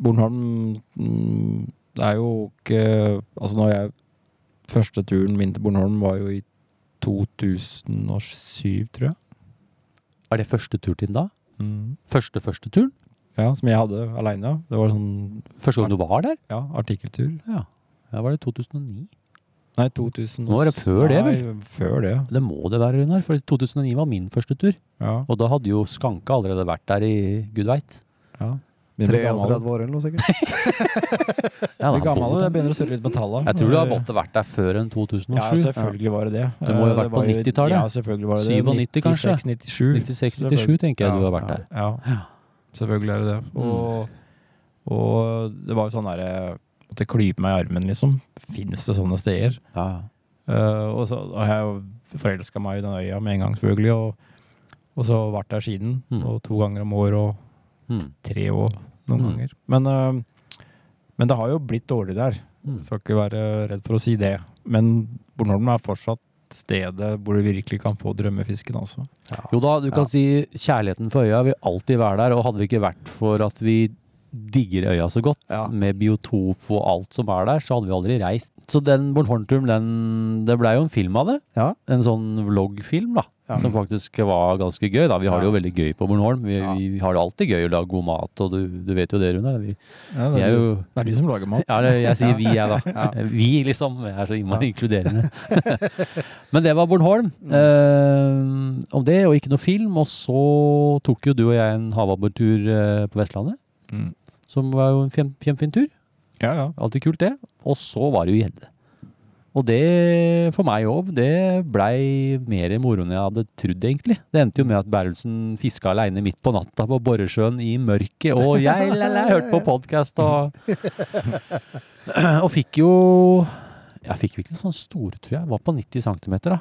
Speaker 6: Bornholm mm, Det er jo ikke Altså, når jeg Første turen min til Bornholm var jo i 2007, tror jeg.
Speaker 2: Er det første turtiden da? Første første turen?
Speaker 6: Ja, som jeg hadde aleine. Det var sånn
Speaker 2: Første gang du var der?
Speaker 6: ja, artikkeltur.
Speaker 2: Ja. Ja, var det 2009?
Speaker 6: Nei, 2000
Speaker 2: Nå var det før det, vel?
Speaker 6: Nei, før det,
Speaker 2: Det må det være, Runar, for 2009 var min første tur.
Speaker 6: ja.
Speaker 2: Og da hadde jo Skanke allerede vært der i gud veit.
Speaker 6: ja.
Speaker 7: 33 år eller noe sikkert.
Speaker 2: Ja, da,
Speaker 6: Blir gammel,
Speaker 2: både-
Speaker 6: jeg begynner å surre litt med tallene.
Speaker 2: jeg tror du har måttet vært der før enn 2007.
Speaker 6: Ja, altså, selvfølgelig var det det.
Speaker 2: Du må jo ha
Speaker 6: Eh,
Speaker 2: vært
Speaker 6: det
Speaker 2: på
Speaker 6: var jo-
Speaker 2: 90-tallet.
Speaker 6: Ja, selvfølgelig var det det.
Speaker 2: 97 kanskje?
Speaker 6: 96-97.
Speaker 2: 96-97 tenker jeg du har vært der.
Speaker 6: Ja,
Speaker 2: Ja.
Speaker 6: selvfølgelig er det det.
Speaker 2: Mm.
Speaker 6: Og, og det var jo sånn derre Måtte klype meg i armen, liksom. Fins det sånne steder?
Speaker 2: Ja.
Speaker 6: Eh, og så har jeg jo forelska meg i den øya med en gang, selvfølgelig. Og, og så vært der siden.
Speaker 2: Mm.
Speaker 6: Og to ganger om året og
Speaker 2: Mm.
Speaker 6: tre år noen
Speaker 2: Mm.
Speaker 6: ganger. Men, eh, men det har jo blitt dårlig der.
Speaker 2: Mm.
Speaker 6: Skal ikke være redd for å si det. Men Bornholm er fortsatt stedet hvor du virkelig kan få drømmefisken, altså.
Speaker 2: Jo da, du kan
Speaker 7: Ja.
Speaker 2: si kjærligheten for øya vil alltid være der, og hadde det ikke vært for at vi digger øya så godt,
Speaker 7: Ja.
Speaker 2: med biotop og alt som er der, så hadde vi aldri reist. Så den Bornholm-turen, den, det blei jo en film av det.
Speaker 7: Ja.
Speaker 2: En sånn vloggfilm, da.
Speaker 7: Ja.
Speaker 2: Som faktisk var ganske gøy. da. Vi har det jo veldig gøy på Bornholm. Vi,
Speaker 7: Ja.
Speaker 2: vi, vi har det alltid gøy å lage god mat, og du, du vet jo det, Rune. Vi,
Speaker 6: Ja,
Speaker 2: vi er jo
Speaker 6: det er du som lager mat.
Speaker 2: ja, det, jeg sier vi, jeg, da. Vi, liksom. Jeg er så innmari inkluderende. Men det var Bornholm.
Speaker 7: Mm.
Speaker 2: Eh, om det, og ikke noe film. Og så tok jo du og jeg en havabbortur eh, på Vestlandet,
Speaker 6: Mm.
Speaker 2: som var jo en fjem- kjempefin tur.
Speaker 6: Ja, ja.
Speaker 2: Alltid kult, det. Og så var det jo gjedde. Og det, for meg òg, det blei mer moro enn jeg hadde trodd, egentlig. Det endte jo med at Berlsen fiska aleine midt på natta på Borresjøen i mørket, og jeg lala, hørte på podkast og Og fikk jo Jeg fikk vel ikke sånn store, tror jeg. Var på 90 cm, da.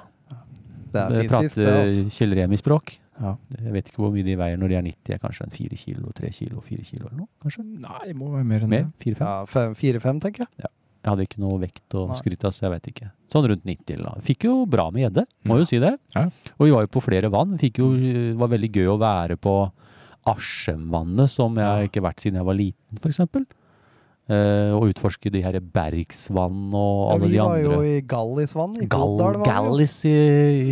Speaker 7: Det er
Speaker 2: Jeg
Speaker 7: fint fisk, det.
Speaker 2: prater
Speaker 7: Altså.
Speaker 2: Kjell Remi-språk.
Speaker 7: Ja.
Speaker 2: Jeg vet ikke hvor mye de veier når de er 90, er kanskje en 4 kilo, 3 kilo, 4 kilo eller noe? Kanskje?
Speaker 6: Nei, det må være mer enn det.
Speaker 2: Mer? 4-5?
Speaker 7: Ja, fem- Fire-fem, tenker jeg.
Speaker 2: Jeg hadde ikke noe vekt å
Speaker 7: Nei.
Speaker 2: skryte av, så jeg vet ikke. Sånn rundt 90 eller noe. Fikk jo bra med gjedde, må jo si det.
Speaker 6: Ja.
Speaker 2: Og vi var jo på flere vann. Fikk jo, det var veldig gøy å være på Askjemvannet, som jeg ikke har vært siden jeg var liten, for eksempel. Eh, og utforske de her Bergsvann og
Speaker 7: Ja,
Speaker 2: alle
Speaker 7: vi
Speaker 2: de
Speaker 7: var
Speaker 2: andre.
Speaker 7: jo i Gallisvann i
Speaker 2: Gal
Speaker 7: Kolldal. var vi.
Speaker 2: Gallis i,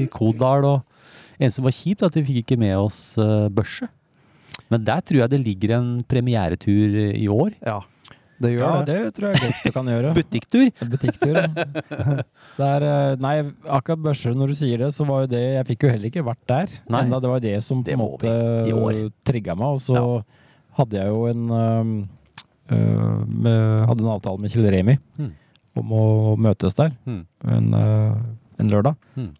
Speaker 2: i Kodal. Og en som var kjipt, at vi fikk ikke med oss eh, børse. Men der tror jeg det ligger en premieretur i år.
Speaker 7: Ja. Det gjør
Speaker 6: Ja,
Speaker 7: det.
Speaker 6: det tror jeg godt du kan gjøre.
Speaker 2: Butikktur.
Speaker 6: Butikktur. ja. Det er, eh, nei, akkurat Børsrud, når du sier det, så var jo det Jeg fikk jo heller ikke vært der.
Speaker 2: Nei.
Speaker 6: Enda det var det som på
Speaker 2: Det
Speaker 6: en
Speaker 2: må
Speaker 6: måte
Speaker 2: vi, i år.
Speaker 6: trigga meg. Og så hadde jeg jo en ehm, eh, med, Hadde en avtale med Kjell Remi
Speaker 2: Mm.
Speaker 6: om å møtes der
Speaker 2: Mm.
Speaker 6: en, eh, en lørdag.
Speaker 2: Mm.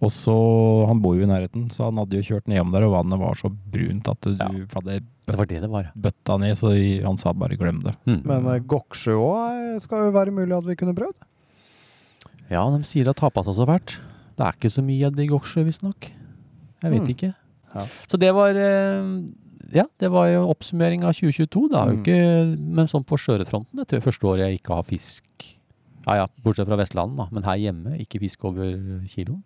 Speaker 6: Og så, Han bor jo i nærheten, så han hadde jo kjørt nedom der, og vannet var så brunt at du hadde
Speaker 2: Det var det det var. Mm.
Speaker 6: bøtta ned, så han sa bare 'glem det'.
Speaker 7: Men uh, Goksjø òg skal jo være mulig at vi kunne prøvd.
Speaker 2: Ja, de sier at Tapas også har vært. Det er ikke så mye av digg også, visstnok. Jeg vet
Speaker 7: Mm.
Speaker 2: ikke.
Speaker 7: Ja.
Speaker 2: Så det var eh, Ja, det var jo oppsummering av 2022. Det er jo
Speaker 7: Mm.
Speaker 2: ikke Men sånn på sjørøverfronten, det tror jeg første året jeg ikke har fisk. Ja ja, bortsett fra Vestlandet, da. Men her hjemme, ikke fisk over kiloen.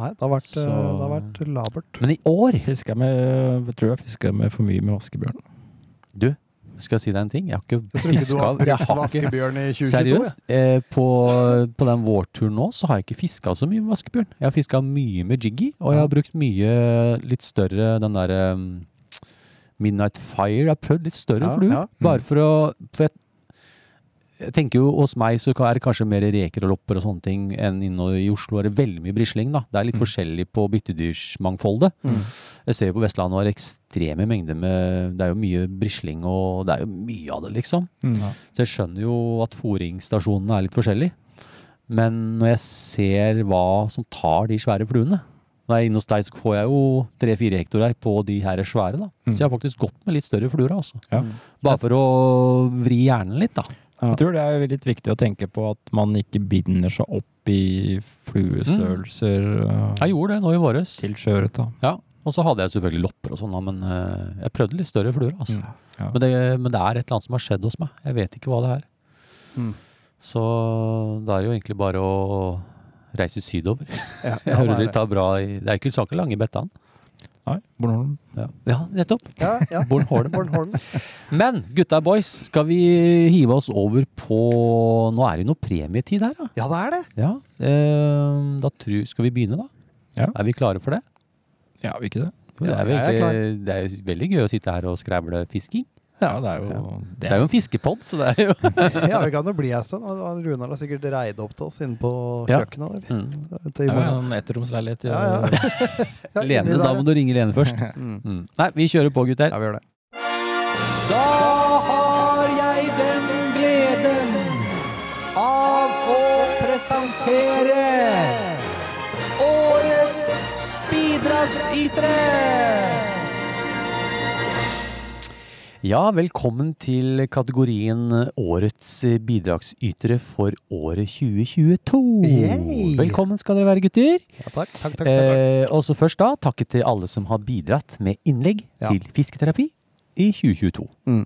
Speaker 7: Nei, det har vært,
Speaker 2: Så-
Speaker 7: eh, det har vært labert.
Speaker 2: Men i år,
Speaker 6: Fiska med, jeg tror jeg fiska med for mye med vaskebjørn.
Speaker 2: du, skal jeg si deg en ting? Jeg har
Speaker 7: Jeg
Speaker 2: ikke
Speaker 7: tror ikke du
Speaker 2: fiska
Speaker 7: har
Speaker 2: jeg
Speaker 7: brukt
Speaker 2: har ikke-
Speaker 7: vaskebjøren i 2022.
Speaker 2: Seriøst?
Speaker 7: jeg.
Speaker 2: Eh, på, på den vårturen nå så har jeg ikke fiska så mye med vaskebjørn. Jeg har fiska mye med jiggy, og jeg har brukt mye litt større den derre um, Midnight Fire. Jeg har prøvd litt større
Speaker 7: Ja,
Speaker 2: fluer.
Speaker 7: ja. Mm.
Speaker 2: Bare for å For jeg, jeg tenker jo hos meg så er det kanskje mer reker og lopper og sånne ting enn inne i Oslo. er det veldig mye brisling, da. Det er litt
Speaker 7: Mm.
Speaker 2: forskjellig på byttedyrsmangfoldet. Jeg ser jo på Vestlandet var det ekstreme mengder med Det er jo mye brisling, og det er jo mye av det, liksom. Så jeg skjønner jo at fôringsstasjonene er litt forskjellige. Men når jeg ser hva som tar de svære fluene Når jeg er inne hos deg, så får jeg jo tre-fire hektar her på de her svære. da.
Speaker 6: Mm.
Speaker 2: Så jeg har faktisk gått med litt større fluer. Altså.
Speaker 6: Ja.
Speaker 7: Mm.
Speaker 2: Bare for å vri hjernen litt, da.
Speaker 7: Ja.
Speaker 6: Jeg tror det er litt viktig å tenke på at man ikke binder seg opp i fluestørrelser eh,
Speaker 2: Jeg gjorde det nå i våres.
Speaker 6: til sjøørret. da.
Speaker 2: Ja. Og så hadde jeg selvfølgelig lopper og sånn, da, men eh, jeg prøvde litt større fluer. Altså.
Speaker 6: Mm. Ja.
Speaker 2: Men, det, men det er et eller annet som har skjedd hos meg. Jeg vet ikke hva det er.
Speaker 7: Mm.
Speaker 2: Så da er det jo egentlig bare å reise sydover.
Speaker 7: Ja,
Speaker 2: Jeg
Speaker 7: ja, det
Speaker 2: hører
Speaker 7: er
Speaker 2: de tar bra i Det er ikke så lange bettene.
Speaker 6: Nei, Bornholm.
Speaker 2: Ja, nettopp.
Speaker 7: det. Ja, ja.
Speaker 2: Bornholm.
Speaker 7: Bornholm.
Speaker 2: Men gutta boys, skal vi hive oss over på Nå er det jo noe premietid her, da.
Speaker 7: Ja, det er det!
Speaker 2: Ja, eh, da tror, skal vi begynne, da?
Speaker 6: Ja.
Speaker 2: Er vi klare for det?
Speaker 6: Ja, vil ikke det?
Speaker 2: Det er, jo
Speaker 7: jeg er
Speaker 2: egentlig, det er jo veldig gøy å sitte her og skræble fisking.
Speaker 6: Ja, det er jo
Speaker 2: Det er jo en fiskepod, så det er jo
Speaker 7: Ja, vi kan jo bli en stund. og- og Runar har sikkert reid opp til oss inne på
Speaker 2: Ja.
Speaker 7: kjøkkenet der. eh,
Speaker 2: mm.
Speaker 7: Til i
Speaker 6: Det er jo
Speaker 7: morgen.
Speaker 6: en ettromsleilighet. i-
Speaker 7: Ja, Ja, inni
Speaker 2: Lene,
Speaker 7: der,
Speaker 2: da må du ringe Lene først.
Speaker 7: ja. Mm.
Speaker 2: Mm. Nei, vi kjører på, gutter.
Speaker 7: Ja, vi gjør det.
Speaker 2: Da har jeg den gleden av å presentere årets bidragsytere! Ja, velkommen til kategorien Årets bidragsytere for året 2022.
Speaker 7: Yay!
Speaker 2: Velkommen skal dere være, gutter.
Speaker 7: Ja, takk. Takk, takk, takk.
Speaker 2: Eh, og så først da, takket til alle som har bidratt med innlegg
Speaker 7: Ja.
Speaker 2: til fisketerapi i 2022.
Speaker 7: Mm.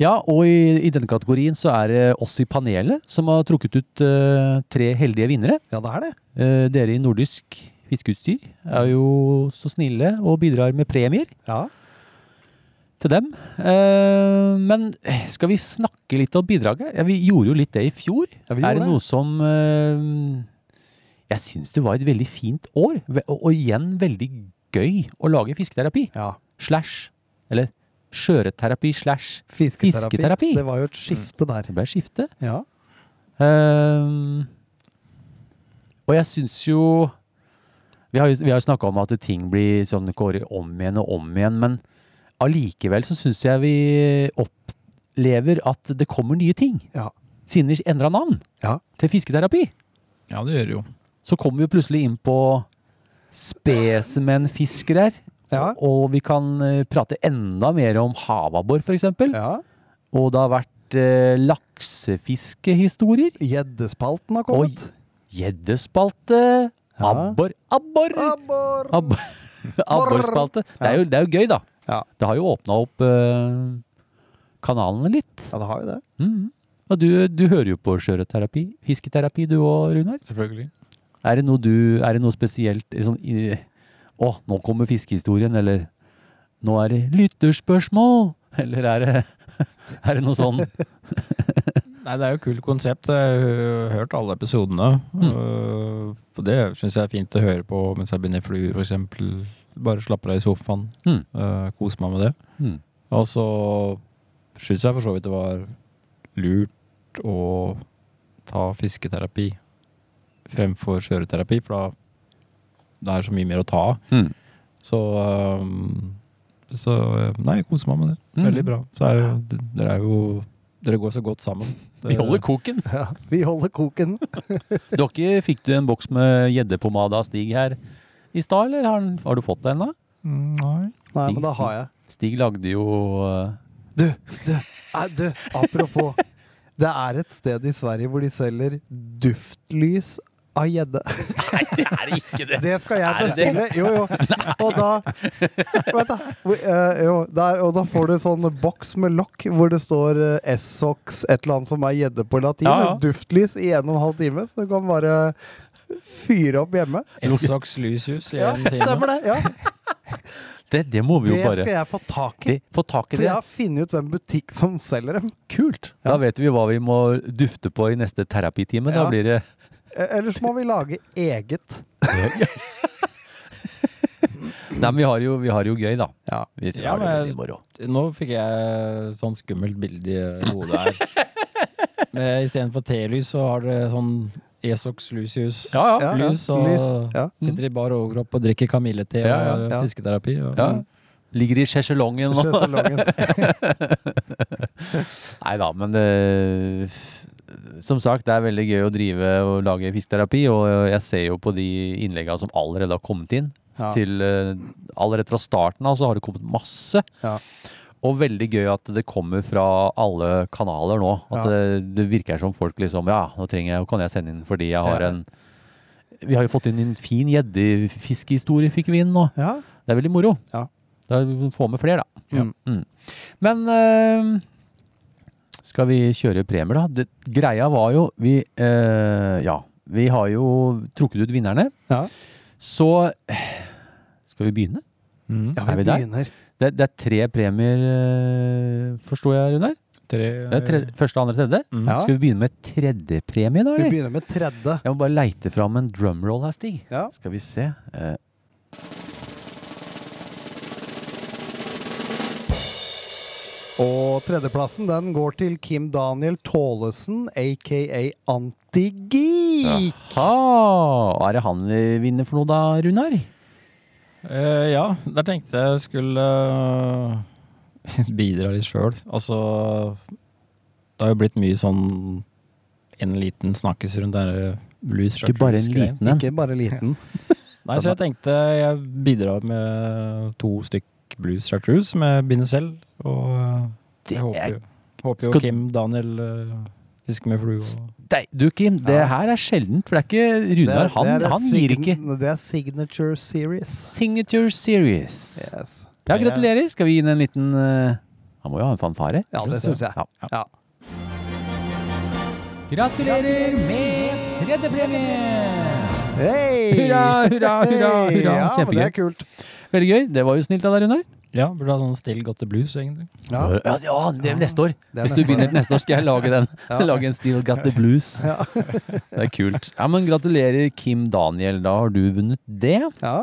Speaker 2: Ja, og i, i denne kategorien så er det oss i panelet som har trukket ut eh, tre heldige vinnere.
Speaker 7: Ja, det er det.
Speaker 2: Eh, dere i nordisk fiskeutstyr er jo så snille og bidrar med premier
Speaker 7: Ja.
Speaker 2: til dem. Eh, men skal vi snakke litt om bidraget? Ja, vi gjorde jo litt det i fjor.
Speaker 7: Ja,
Speaker 2: er
Speaker 7: vi gjorde
Speaker 2: det
Speaker 7: det.
Speaker 2: noe som eh, Jeg syns det var et veldig fint år, ve- og, og igjen veldig gøy å lage fisketerapi.
Speaker 7: ja.
Speaker 2: Slash. Eller skjøreterapi slash.
Speaker 7: Fisketerapi.
Speaker 2: Fisketerapi. Mm.
Speaker 7: Det var jo et skifte der.
Speaker 2: Det ble skifte.
Speaker 7: Ja.
Speaker 2: Ehm, og jeg syns jo Vi har jo, vi har jo snakka om at ting blir sånn det går om igjen og om igjen, men allikevel så syns jeg vi opplever at det kommer nye ting.
Speaker 7: Ja.
Speaker 2: Siden vi endra navn
Speaker 7: Ja.
Speaker 2: til fisketerapi,
Speaker 6: ja, det gjør det jo.
Speaker 2: så kommer vi plutselig inn på spesimenfisker her.
Speaker 7: Ja.
Speaker 2: Og vi kan eh, prate enda mer om havabbor, f.eks. eksempel
Speaker 7: ja.
Speaker 2: Og det har vært eh, laksefiskehistorier.
Speaker 7: Gjeddespalten har kommet.
Speaker 2: Gjeddespalte.
Speaker 7: Ja.
Speaker 2: Abbor. Abbor!
Speaker 7: Abbor!
Speaker 2: Ab- Abborspalte. Det, er jo- det er jo gøy, da.
Speaker 7: Ja.
Speaker 2: Det har jo åpna opp eh, kanalene litt.
Speaker 7: Ja, det har jo det.
Speaker 2: Mhm. Og du, du hører jo på sjøørretterapi, fisketerapi, du òg, Runar.
Speaker 6: Selvfølgelig.
Speaker 2: Er det noe du Er det noe spesielt liksom, i, Å, nå kommer fiskehistorien, eller Nå er det lytterspørsmål! Eller er det, er det noe sånn
Speaker 6: Nei, det er jo et kult konsept. Jeg har hørt alle episodene. Øh, og det syns jeg er fint å høre på mens jeg binder fluer, f.eks. Bare slapper av i sofaen. Eh,
Speaker 2: Mm.
Speaker 7: Hmm.
Speaker 6: øh, Kos meg med det.
Speaker 2: Mhm.
Speaker 6: Og så syns jeg for så vidt det var lurt å ta fisketerapi fremfor skjøreterapi, for da det er så mye mer å ta av.
Speaker 7: Hmm.
Speaker 2: Mm.
Speaker 6: Så, um, så um, Nei, jeg koser meg med det.
Speaker 7: Hmm.
Speaker 2: Mm.
Speaker 6: Veldig bra. Så er jo, d- dere er jo Dere går så godt sammen.
Speaker 2: Vi holder koken.
Speaker 7: Ja, vi holder koken.
Speaker 2: Dokke, fikk du en boks med gjeddepomade av Stig her i stad, eller har, han- har du fått den da?
Speaker 6: Mm, Nei.
Speaker 7: Nei,
Speaker 2: Stig,
Speaker 7: men da har jeg.
Speaker 2: Stig lagde jo eh,
Speaker 7: Du, du, nei, du, apropos. Det er et sted i Sverige hvor de selger duftlys av gjedde. Nei, det er ikke det! Det skal jeg bestille. Jo, jo. Og da Vent, da. Hvor- eh, Jo, der, og da får du sånn boks med lokk hvor det står eh, Essox, et eller annet som er gjedde på latin.
Speaker 2: Ja, ja.
Speaker 7: Duftlys i en og en halv time, så du kan bare fyre opp hjemme.
Speaker 6: Essox lyshus i
Speaker 7: Ja,
Speaker 6: en time.
Speaker 7: stemmer det. Ja.
Speaker 2: Det, det må vi jo
Speaker 7: Det
Speaker 2: bare
Speaker 7: skal jeg få tak i.
Speaker 2: det, Få tak i
Speaker 7: For jeg
Speaker 2: det.
Speaker 7: har funnet ut hvem butikk som selger dem.
Speaker 2: Kult! Da vet vi hva vi må dufte på i neste terapitime. Da
Speaker 7: Ja.
Speaker 2: blir det
Speaker 7: Eh, Ellers må vi lage eget.
Speaker 2: Nei, men vi har jo, vi har jo gøy, da.
Speaker 7: Ja.
Speaker 2: Vi sier,
Speaker 6: Ja,
Speaker 2: har det
Speaker 6: men-
Speaker 2: veldig moro.
Speaker 6: Nå fikk jeg sånn skummelt bilde i hodet her. Men Istedenfor telys så har dere sånn Esox lyshus.
Speaker 2: Ja, ja.
Speaker 7: Ja,
Speaker 6: Lys og
Speaker 7: lys, ja.
Speaker 6: sitter i bar overkropp og drikker kamillete
Speaker 2: Ja, ja,
Speaker 6: og
Speaker 7: ja.
Speaker 6: fisketerapi. Og,
Speaker 2: Ja. Ligger i sjeselongen og
Speaker 7: Sjøsalongen.
Speaker 2: Nei da, men det, som sagt, det er veldig gøy å drive og lage fisketerapi, og eh, jeg ser jo på de innlegga som allerede har kommet inn.
Speaker 7: Ja.
Speaker 2: Til, eh, allerede fra starten av så har det kommet masse.
Speaker 7: Ja.
Speaker 2: Og veldig gøy at det kommer fra alle kanaler nå. At
Speaker 7: Ja.
Speaker 2: det, det virker som folk liksom Ja, nå trenger jeg, kan jeg sende inn fordi jeg har
Speaker 7: Ja.
Speaker 2: en Vi har jo fått inn en fin gjeddefiskehistorie, fikk vi inn nå.
Speaker 7: Ja.
Speaker 2: Det er veldig moro.
Speaker 7: Ja.
Speaker 2: Da får vi flere, da.
Speaker 7: Ja.
Speaker 2: Mm. Men eh, skal vi kjøre premier, da? Det, greia var jo vi, eh, Ja, vi har jo trukket ut vinnerne.
Speaker 7: Ja.
Speaker 2: Så skal vi begynne?
Speaker 6: Mm.
Speaker 7: ja,
Speaker 2: Er
Speaker 7: vi
Speaker 2: vi der?
Speaker 7: begynner.
Speaker 2: Det, det er tre premier, eh, forstår jeg, Runar?
Speaker 6: Tre,
Speaker 2: Det er tre, første, andre, tredje.
Speaker 6: Mm.
Speaker 7: Eh, Ja.
Speaker 2: Skal vi begynne med tredjepremie, da?
Speaker 7: Vi
Speaker 2: eller?
Speaker 7: begynner med tredje.
Speaker 2: Jeg må bare leite fram en drumroll her, Stig.
Speaker 7: Ja.
Speaker 2: Skal vi se. eh.
Speaker 7: Og tredjeplassen den går til Kim Daniel Tålesen, aka Antigeek.
Speaker 2: Ha! Hva er det han eh, vinner for noe da, Runar?
Speaker 6: Eh, ja, der tenkte jeg skulle eh, bidra litt sjøl. Altså Det har jo blitt mye sånn en liten snakkes rundt denne Blues
Speaker 2: Ikke bare en
Speaker 6: Chartreuse-greien.
Speaker 2: liten en.
Speaker 7: Ikke bare liten.
Speaker 6: Nei, så jeg tenkte jeg bidrar med to stykk Blues Chartreuse som jeg binder selv. Og eh,
Speaker 2: Det
Speaker 6: jeg håper
Speaker 2: er
Speaker 6: jo, håper jo
Speaker 2: Skal-
Speaker 6: Kim Daniel eh, fisker med flue. og-
Speaker 2: Dei, du Kim, det
Speaker 7: Ja.
Speaker 2: her er sjeldent, for det er ikke Runar. Han,
Speaker 7: det
Speaker 2: han gir ikke.
Speaker 7: sign- Det er signature series.
Speaker 2: Signature Series.
Speaker 7: Yes.
Speaker 2: Ja, gratulerer. Skal vi gi den en liten eh, Han må jo ha en fanfare.
Speaker 7: Ja, det syns jeg.
Speaker 2: Ja.
Speaker 7: Ja.
Speaker 2: Gratulerer med tredjepremie!
Speaker 7: Hei!
Speaker 2: Hurra, hurra, hurra!
Speaker 7: Hei!
Speaker 2: hurra.
Speaker 7: Ja, men det
Speaker 2: Kjempegøy.
Speaker 7: er kult.
Speaker 2: Veldig gøy. Det var jo snilt av deg, Runar.
Speaker 6: Ja, burde ha sånn Still Got The Blues, egentlig.
Speaker 7: Ja.
Speaker 2: Ja, det- ja, det er neste år.
Speaker 7: Det er
Speaker 2: Hvis du
Speaker 7: neste år,
Speaker 2: begynner
Speaker 7: ja.
Speaker 2: neste år, skal jeg lage den. Lage en Still Got The Blues.
Speaker 7: Ja.
Speaker 2: Det er kult. Ja, men Gratulerer, Kim Daniel. Da har du vunnet det.
Speaker 7: Ja.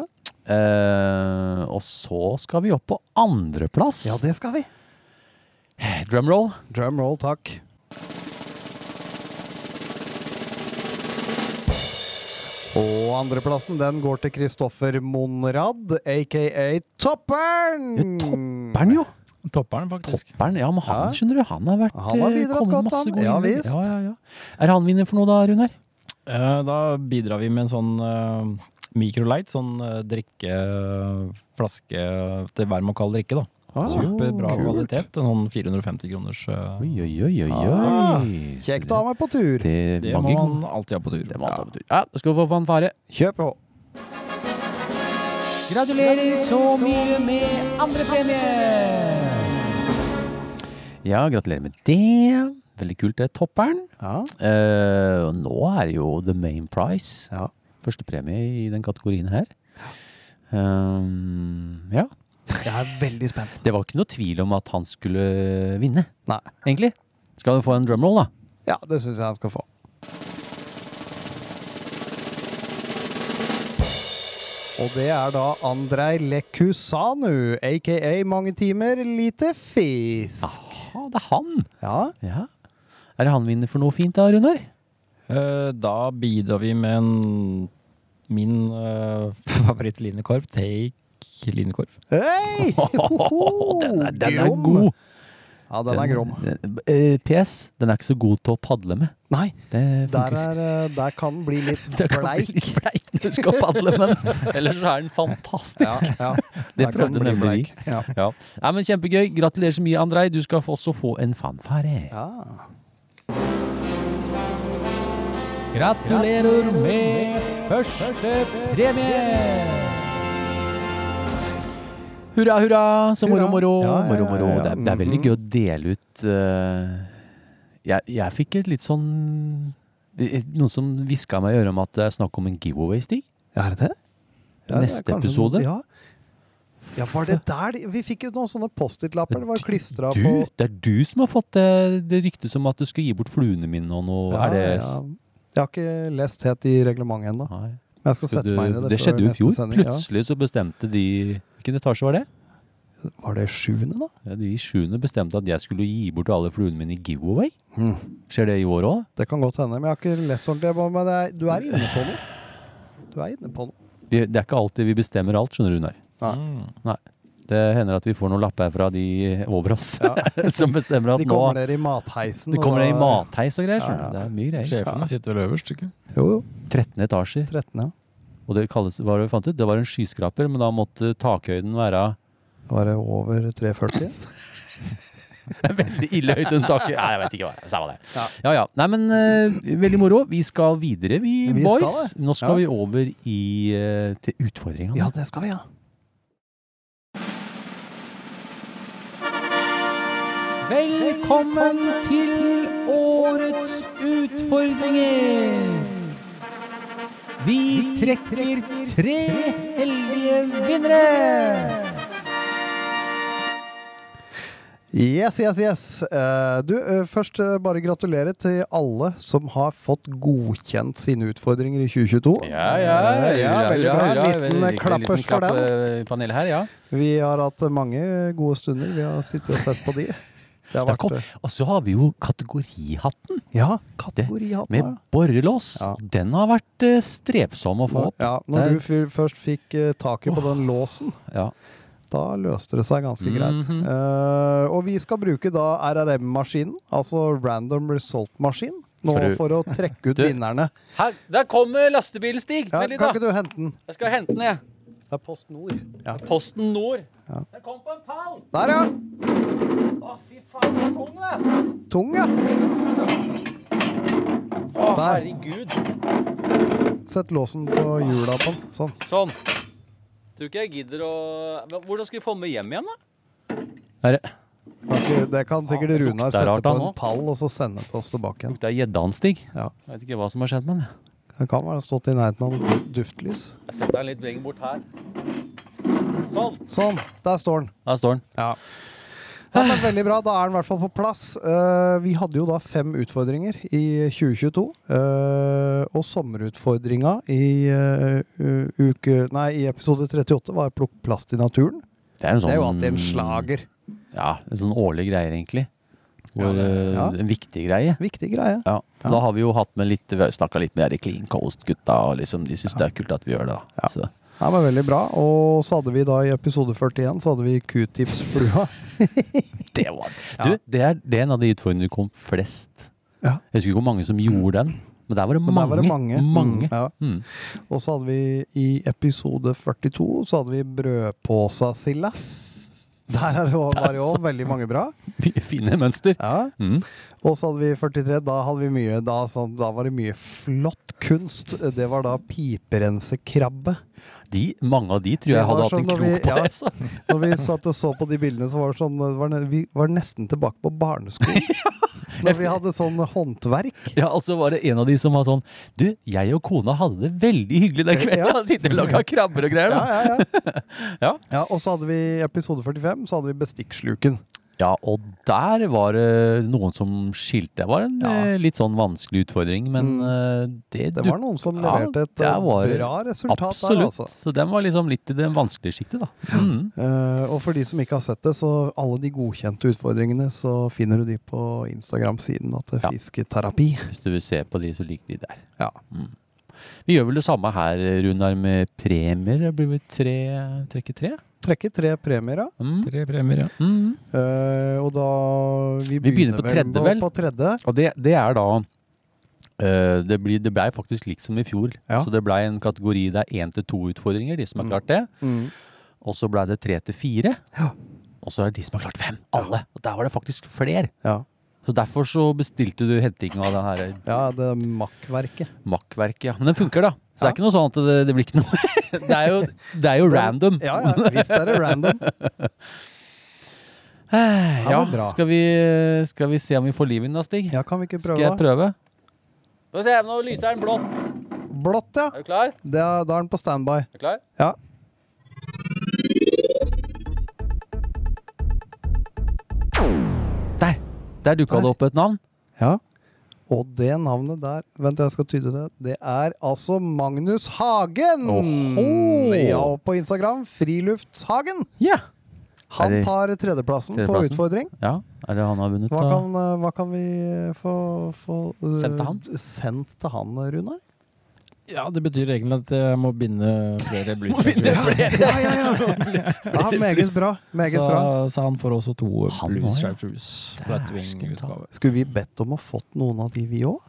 Speaker 2: Eh, og så skal vi opp på andreplass.
Speaker 7: ja, det skal vi.
Speaker 2: Drumroll.
Speaker 7: Drum roll, takk. Og andreplassen den går til Kristoffer Monrad, aka Toppern!
Speaker 2: Bern,
Speaker 7: Mm.
Speaker 2: jo.
Speaker 6: Topperen, faktisk.
Speaker 2: Bern, ja, men han
Speaker 7: Ja.
Speaker 2: skjønner du, han har vært
Speaker 7: Han har
Speaker 2: eh,
Speaker 7: bidratt
Speaker 2: kommet
Speaker 7: godt,
Speaker 2: masse
Speaker 7: han.
Speaker 2: gode
Speaker 7: Ja,
Speaker 2: innlegg.
Speaker 7: visst.
Speaker 2: Ja, ja, ja. Er han vinner for noe da, Runar?
Speaker 6: Eh, Da bidrar vi med en sånn eh, Microlight, sånn eh, drikkeflaske til varm og kald drikke. da
Speaker 7: Ah,
Speaker 6: Superbra
Speaker 7: kult.
Speaker 6: kvalitet. En sånn 450 kroners eh,
Speaker 2: Oi, oi, oi, oi, oi.
Speaker 7: Ah,
Speaker 2: Så
Speaker 7: Kjekk dame på tur.
Speaker 2: Det,
Speaker 6: Det
Speaker 2: mange
Speaker 6: må
Speaker 2: gode-
Speaker 6: man alltid ha på tur.
Speaker 2: det må man ta på tur. Ja, da skal vi få fanfare.
Speaker 7: Kjør på.
Speaker 2: Gratulerer så mye med andrepremie! Ja, gratulerer med det. Veldig kult, det. Topperen.
Speaker 7: Ja.
Speaker 2: Eh, og nå er det jo the main prize.
Speaker 7: Ja.
Speaker 2: Førstepremie i den kategorien her. Um, ja.
Speaker 7: Jeg er veldig spent.
Speaker 2: Det var ikke noe tvil om at han skulle vinne,
Speaker 7: Nei.
Speaker 2: egentlig. Skal du få en drumroll, da?
Speaker 7: Ja, det syns jeg han skal få. Og det er da Andrej Lekusanu, aka mange timer lite fisk.
Speaker 2: Ah, det er han!
Speaker 7: Ja,
Speaker 2: Ja. Er det han vinner for noe fint da, Runar?
Speaker 6: Eh, Da bidrar vi med en min uh, favorittlinekorv, Take linekorv.
Speaker 7: Hei! Hoho!
Speaker 2: den er, den er
Speaker 7: Grom.
Speaker 2: god!
Speaker 7: Ja, den er grom.
Speaker 2: Den- eh, PS, den er ikke så god til å padle med.
Speaker 7: Nei,
Speaker 2: Det
Speaker 7: der,
Speaker 2: funker ikke.
Speaker 7: er, eh, der kan den bli litt
Speaker 2: Det kan bli
Speaker 7: bleik.
Speaker 2: litt bleik når du skal padle, men ellers så er den
Speaker 7: Ja,
Speaker 2: fantastisk.
Speaker 7: ja.
Speaker 2: Det
Speaker 7: der kan
Speaker 2: prøvde
Speaker 7: den bli
Speaker 2: nemlig vi.
Speaker 7: bleik. Ja.
Speaker 2: Ja. Nei, men Kjempegøy. Gratulerer så mye, Andrej. Du skal få- også få en fanfare.
Speaker 7: Ja.
Speaker 2: Gratulerer med første premie! Hurra, hurra, så moro,
Speaker 7: Hurra.
Speaker 2: moro.
Speaker 7: Ja, ja,
Speaker 2: moro,
Speaker 7: ja,
Speaker 2: moro.
Speaker 7: ja, ja.
Speaker 2: Det, er, det er veldig
Speaker 7: Mhm.
Speaker 2: gøy å dele ut eh, jeg, jeg fikk et litt sånn Noen som hviska meg i øret om at det er snakk om en giveaway-stig.
Speaker 7: Er det det? Ja, det er
Speaker 2: Neste
Speaker 7: kanskje
Speaker 2: episode?
Speaker 7: noe- Ja. ja, var det der de- Vi fikk jo noen sånne Post-It-lapper. Det var klistra
Speaker 2: Du,
Speaker 7: på
Speaker 2: det er du som har fått det, det ryktet som at du skal gi bort fluene mine og noe.
Speaker 7: Ja,
Speaker 2: er det
Speaker 7: ja. Jeg har ikke lest helt i reglementet ennå.
Speaker 2: Nei.
Speaker 7: Men jeg skal
Speaker 2: Så
Speaker 7: sette
Speaker 2: du,
Speaker 7: meg inn i det.
Speaker 2: det
Speaker 7: før
Speaker 2: skjedde jo i
Speaker 7: neste
Speaker 2: fjor.
Speaker 7: sending, ja.
Speaker 2: Plutselig så bestemte de Hvilken etasje var det?
Speaker 7: Var det sjuende, da?
Speaker 2: Ja, de sjuende bestemte at jeg skulle gi bort alle fluene mine i giveaway. Skjer det i år òg?
Speaker 7: Hm. Det kan godt hende. Men jeg har ikke lest ordentlig. Jeg bare- Men det er, du er inne på noe. Du er inne på noe.
Speaker 2: Det er ikke alltid vi bestemmer alt, skjønner du, Runar.
Speaker 7: Nei.
Speaker 6: Mm.
Speaker 2: Nei. Det hender at vi får noen lapper fra de over oss som bestemmer at
Speaker 7: De
Speaker 2: nå
Speaker 7: kommer dere i matheisen.
Speaker 2: De
Speaker 7: og
Speaker 2: kommer
Speaker 7: da-
Speaker 2: ned i matheis og greier. skjønner
Speaker 7: Ja, ja.
Speaker 2: du. Det er mye greier.
Speaker 6: Sjefene sitter vel øverst, ikke?
Speaker 7: Jo, jo.
Speaker 2: 13 etasjer.
Speaker 7: 13, ja.
Speaker 2: Og det kalles, hva var det vi fant ut? Det var en skyskraper, men da måtte takhøyden være
Speaker 7: Var det over 3,40?
Speaker 2: Veldig ille høyt under taket. Nei, jeg vet ikke hva. Samme det. Ja, ja. Nei, men eh, veldig moro. Vi skal videre, vi,
Speaker 7: Vi skal
Speaker 2: boys.
Speaker 7: det.
Speaker 2: Nå skal
Speaker 7: Ja.
Speaker 2: vi over i, eh, til utfordringene.
Speaker 7: Ja, det skal vi, ja.
Speaker 2: Velkommen til årets utfordringer! Vi trekker tre heldige vinnere!
Speaker 7: Yes, yes, yes. Eh, du, eh, først eh, bare gratulerer til alle som har fått godkjent sine utfordringer i 2022.
Speaker 2: Ja, ja,
Speaker 7: ja, veldig bra. En liten klappers for
Speaker 2: Panelet eh, her, ja.
Speaker 7: Vi har hatt eh, mange gode stunder. Vi har sittet og sett på de. Det har
Speaker 2: Der
Speaker 7: vært
Speaker 2: kom-
Speaker 7: eh,
Speaker 2: Og så har vi jo kategorihatten
Speaker 7: Ja,
Speaker 2: det-
Speaker 7: kategorihatten.
Speaker 2: med
Speaker 7: ja.
Speaker 2: borrelås.
Speaker 7: Ja.
Speaker 2: Den har vært eh, strevsom å få
Speaker 7: Når,
Speaker 2: opp.
Speaker 7: ja,
Speaker 2: Der.
Speaker 7: når du fyr- først fikk eh, taket på den låsen,
Speaker 2: Ja.
Speaker 7: da løste det seg ganske greit.
Speaker 2: Mhm.
Speaker 7: Eh, og vi skal bruke da RRM-maskinen, altså Random Result-maskin, nå
Speaker 2: For
Speaker 7: for,
Speaker 2: du-
Speaker 7: å trekke ut
Speaker 2: Du-
Speaker 7: vinnerne.
Speaker 2: Her, der kommer lastebilen, Stig.
Speaker 7: Ja,
Speaker 2: Vent
Speaker 7: kan
Speaker 2: litt, da.
Speaker 7: ikke du hente den?
Speaker 2: Jeg skal hente den, jeg.
Speaker 7: Det er Post Nord. Ja.
Speaker 2: Posten Nord.
Speaker 7: Ja.
Speaker 2: Den kom på en pall!
Speaker 7: Der, ja!
Speaker 2: Å, fy faen, den er tung, det!
Speaker 7: Tung, ja.
Speaker 2: Å,
Speaker 7: Der.
Speaker 2: herregud.
Speaker 7: Sett låsen på hjula på den. Sånn.
Speaker 2: Sånn. Tror ikke jeg gidder å Hvordan skal vi få den med hjem igjen, da? Er det
Speaker 7: Kan ikke- Det kan sikkert
Speaker 2: Ja, det
Speaker 7: Runar
Speaker 2: lukter
Speaker 7: sette
Speaker 2: rart da
Speaker 7: på en
Speaker 2: nå.
Speaker 7: pall og så sende til oss tilbake igjen.
Speaker 2: lukter gjedda hans, Stig.
Speaker 7: Ja.
Speaker 2: Jeg vet ikke hva som har skjedd med den.
Speaker 7: Det kan være stått i nærheten av noe duftlys.
Speaker 2: Jeg setter den litt lenger bort her. Sånn.
Speaker 7: Sånn, der står den.
Speaker 2: Der står den.
Speaker 7: Ja. men veldig bra, da er den i hvert fall på plass. Eh, vi hadde jo da fem utfordringer i 2022. eh, og sommerutfordringa i, eh, u- uke, nei, i episode 38 var 'plukk plast i naturen'.
Speaker 2: Det er, en sånn,
Speaker 7: Det er jo alltid en slager.
Speaker 2: Ja, en sånn årlig greie, egentlig. Hvor, eh,
Speaker 7: ja.
Speaker 2: En viktig greie.
Speaker 7: Viktig greie.
Speaker 2: Ja. Da har vi jo hatt med litt Vi har snakka litt med de Clean Coast-gutta, og liksom, de syns det er kult at vi gjør det. da. Så.
Speaker 7: Ja, men Veldig bra. Og så hadde vi da i episode 41 så hadde vi Q-tips-flua.
Speaker 2: Det var Du, det er, det er en av de utfordringene du kom flest.
Speaker 7: Ja.
Speaker 2: Jeg husker ikke hvor mange som gjorde den, men der var det
Speaker 7: Men
Speaker 2: mange.
Speaker 7: der var det mange.
Speaker 2: mange.
Speaker 7: Mm, ja.
Speaker 2: Mm.
Speaker 7: Og så hadde vi i episode 42 så hadde vi brødpåsa-silda. Der er det jo- var det jo veldig mange bra.
Speaker 2: Mye Fine mønster.
Speaker 7: Ja.
Speaker 2: Mm.
Speaker 7: Og så hadde vi 43. Da, hadde vi mye, da, sånn- da var det mye flott kunst. Det var da piperensekrabbe.
Speaker 2: De, mange av de tror
Speaker 7: Det
Speaker 2: jeg hadde
Speaker 7: var
Speaker 2: hatt en
Speaker 7: sånn
Speaker 2: krok
Speaker 7: når vi-
Speaker 2: på altså.
Speaker 7: ja.
Speaker 2: det. Så.
Speaker 7: Når vi satt og så på de bildene, så var det sånn det var, ne- Vi var nesten tilbake på barneskolen. Når vi hadde sånn håndverk.
Speaker 2: Ja, og så var det en av de som var sånn Du, jeg og kona hadde det veldig hyggelig den kvelden.
Speaker 7: Ja.
Speaker 2: Ja. Sitter og lager krabber og greier. Da.
Speaker 7: Ja, ja, ja.
Speaker 2: Ja.
Speaker 7: Og så hadde vi i episode 45 så hadde vi bestikksluken.
Speaker 2: Ja, og der var det noen som skilte. Det var en
Speaker 7: Ja. Mm.
Speaker 2: eh, litt sånn vanskelig utfordring, men eh, det,
Speaker 7: Det var noen som
Speaker 2: Ja,
Speaker 7: leverte et
Speaker 2: det
Speaker 7: eh,
Speaker 2: var-
Speaker 7: bra resultat der,
Speaker 2: Absolutt.
Speaker 7: altså.
Speaker 2: Så den var liksom litt i det vanskelige sjiktet, da. Mm.
Speaker 7: Eh, og for de som ikke har sett det, så alle de godkjente utfordringene, så finner du de på Instagram-siden at det er
Speaker 2: Ja.
Speaker 7: Fisketerapi.
Speaker 2: Hvis du vil se på de, så ligger de der.
Speaker 7: Ja.
Speaker 2: Mm. Vi gjør vel det samme her, Runar, med premier. Det blir vel tre trekke tre?
Speaker 7: Trekker tre premier, ja.
Speaker 2: Mm.
Speaker 6: Tre premier, ja.
Speaker 2: Mm.
Speaker 7: Eh, og da Vi
Speaker 2: Vi begynner på tredje, vel?
Speaker 7: På tredje.
Speaker 2: Og det, det er da eh, det, blir, det ble faktisk likt som i fjor.
Speaker 7: Ja.
Speaker 2: Så det blei en kategori der én til to utfordringer, de som har
Speaker 7: Mm.
Speaker 2: klart det.
Speaker 7: Mm.
Speaker 2: Og så blei det tre til fire.
Speaker 7: Ja.
Speaker 2: Og så er det de som har klart fem. Alle. Og der var det faktisk flere.
Speaker 7: Ja.
Speaker 2: Så derfor så bestilte du henting av det her
Speaker 7: ja, det er makkverket.
Speaker 2: makkverket. Ja. Men den funker, da. Så det
Speaker 7: Ja.
Speaker 2: er ikke noe sånn at det, det blir ikke noe Det er jo, det er jo random.
Speaker 7: Ja, ja, visst er det random.
Speaker 2: Eh, ja.
Speaker 7: var bra.
Speaker 2: Skal, vi, skal vi se om vi får liv i den da, Stig?
Speaker 7: Ja, kan vi ikke
Speaker 2: Skal jeg
Speaker 7: prøve?
Speaker 2: prøve? Skal vi se, nå lyser den blått.
Speaker 7: Blått, ja.
Speaker 2: Er du klar?
Speaker 7: Det er, da er den på standby.
Speaker 2: Er du klar?
Speaker 7: Ja.
Speaker 2: Der! Der dukka det
Speaker 7: Der.
Speaker 2: opp et navn.
Speaker 7: ja. Og det navnet der Vent, jeg skal tyde det. Det er altså Magnus Hagen!
Speaker 2: Oho.
Speaker 7: Ja, og på Instagram Friluftshagen.
Speaker 2: Ja. Er
Speaker 7: Han
Speaker 2: det-
Speaker 7: tar tredjeplassen,
Speaker 2: Tredjeplassen?
Speaker 7: på utfordring.
Speaker 2: ja. Er det han har vunnet,
Speaker 7: Hva
Speaker 2: da?
Speaker 7: kan, eh, hva kan vi eh, få, få eh,
Speaker 2: Sendt til han?
Speaker 7: Sendt til han, eh, Runar?
Speaker 6: Ja, det betyr egentlig at jeg må binde flere blues.
Speaker 7: Ja, ja, ja. ja meget bra. Meget
Speaker 6: så,
Speaker 7: bra.
Speaker 6: så han får også to
Speaker 2: Han
Speaker 6: blues,
Speaker 2: også, ja.
Speaker 6: Striped Blues, flat
Speaker 2: Dæsken ta.
Speaker 6: wing-utgave.
Speaker 7: Skulle vi bedt om å fått noen av de, vi òg?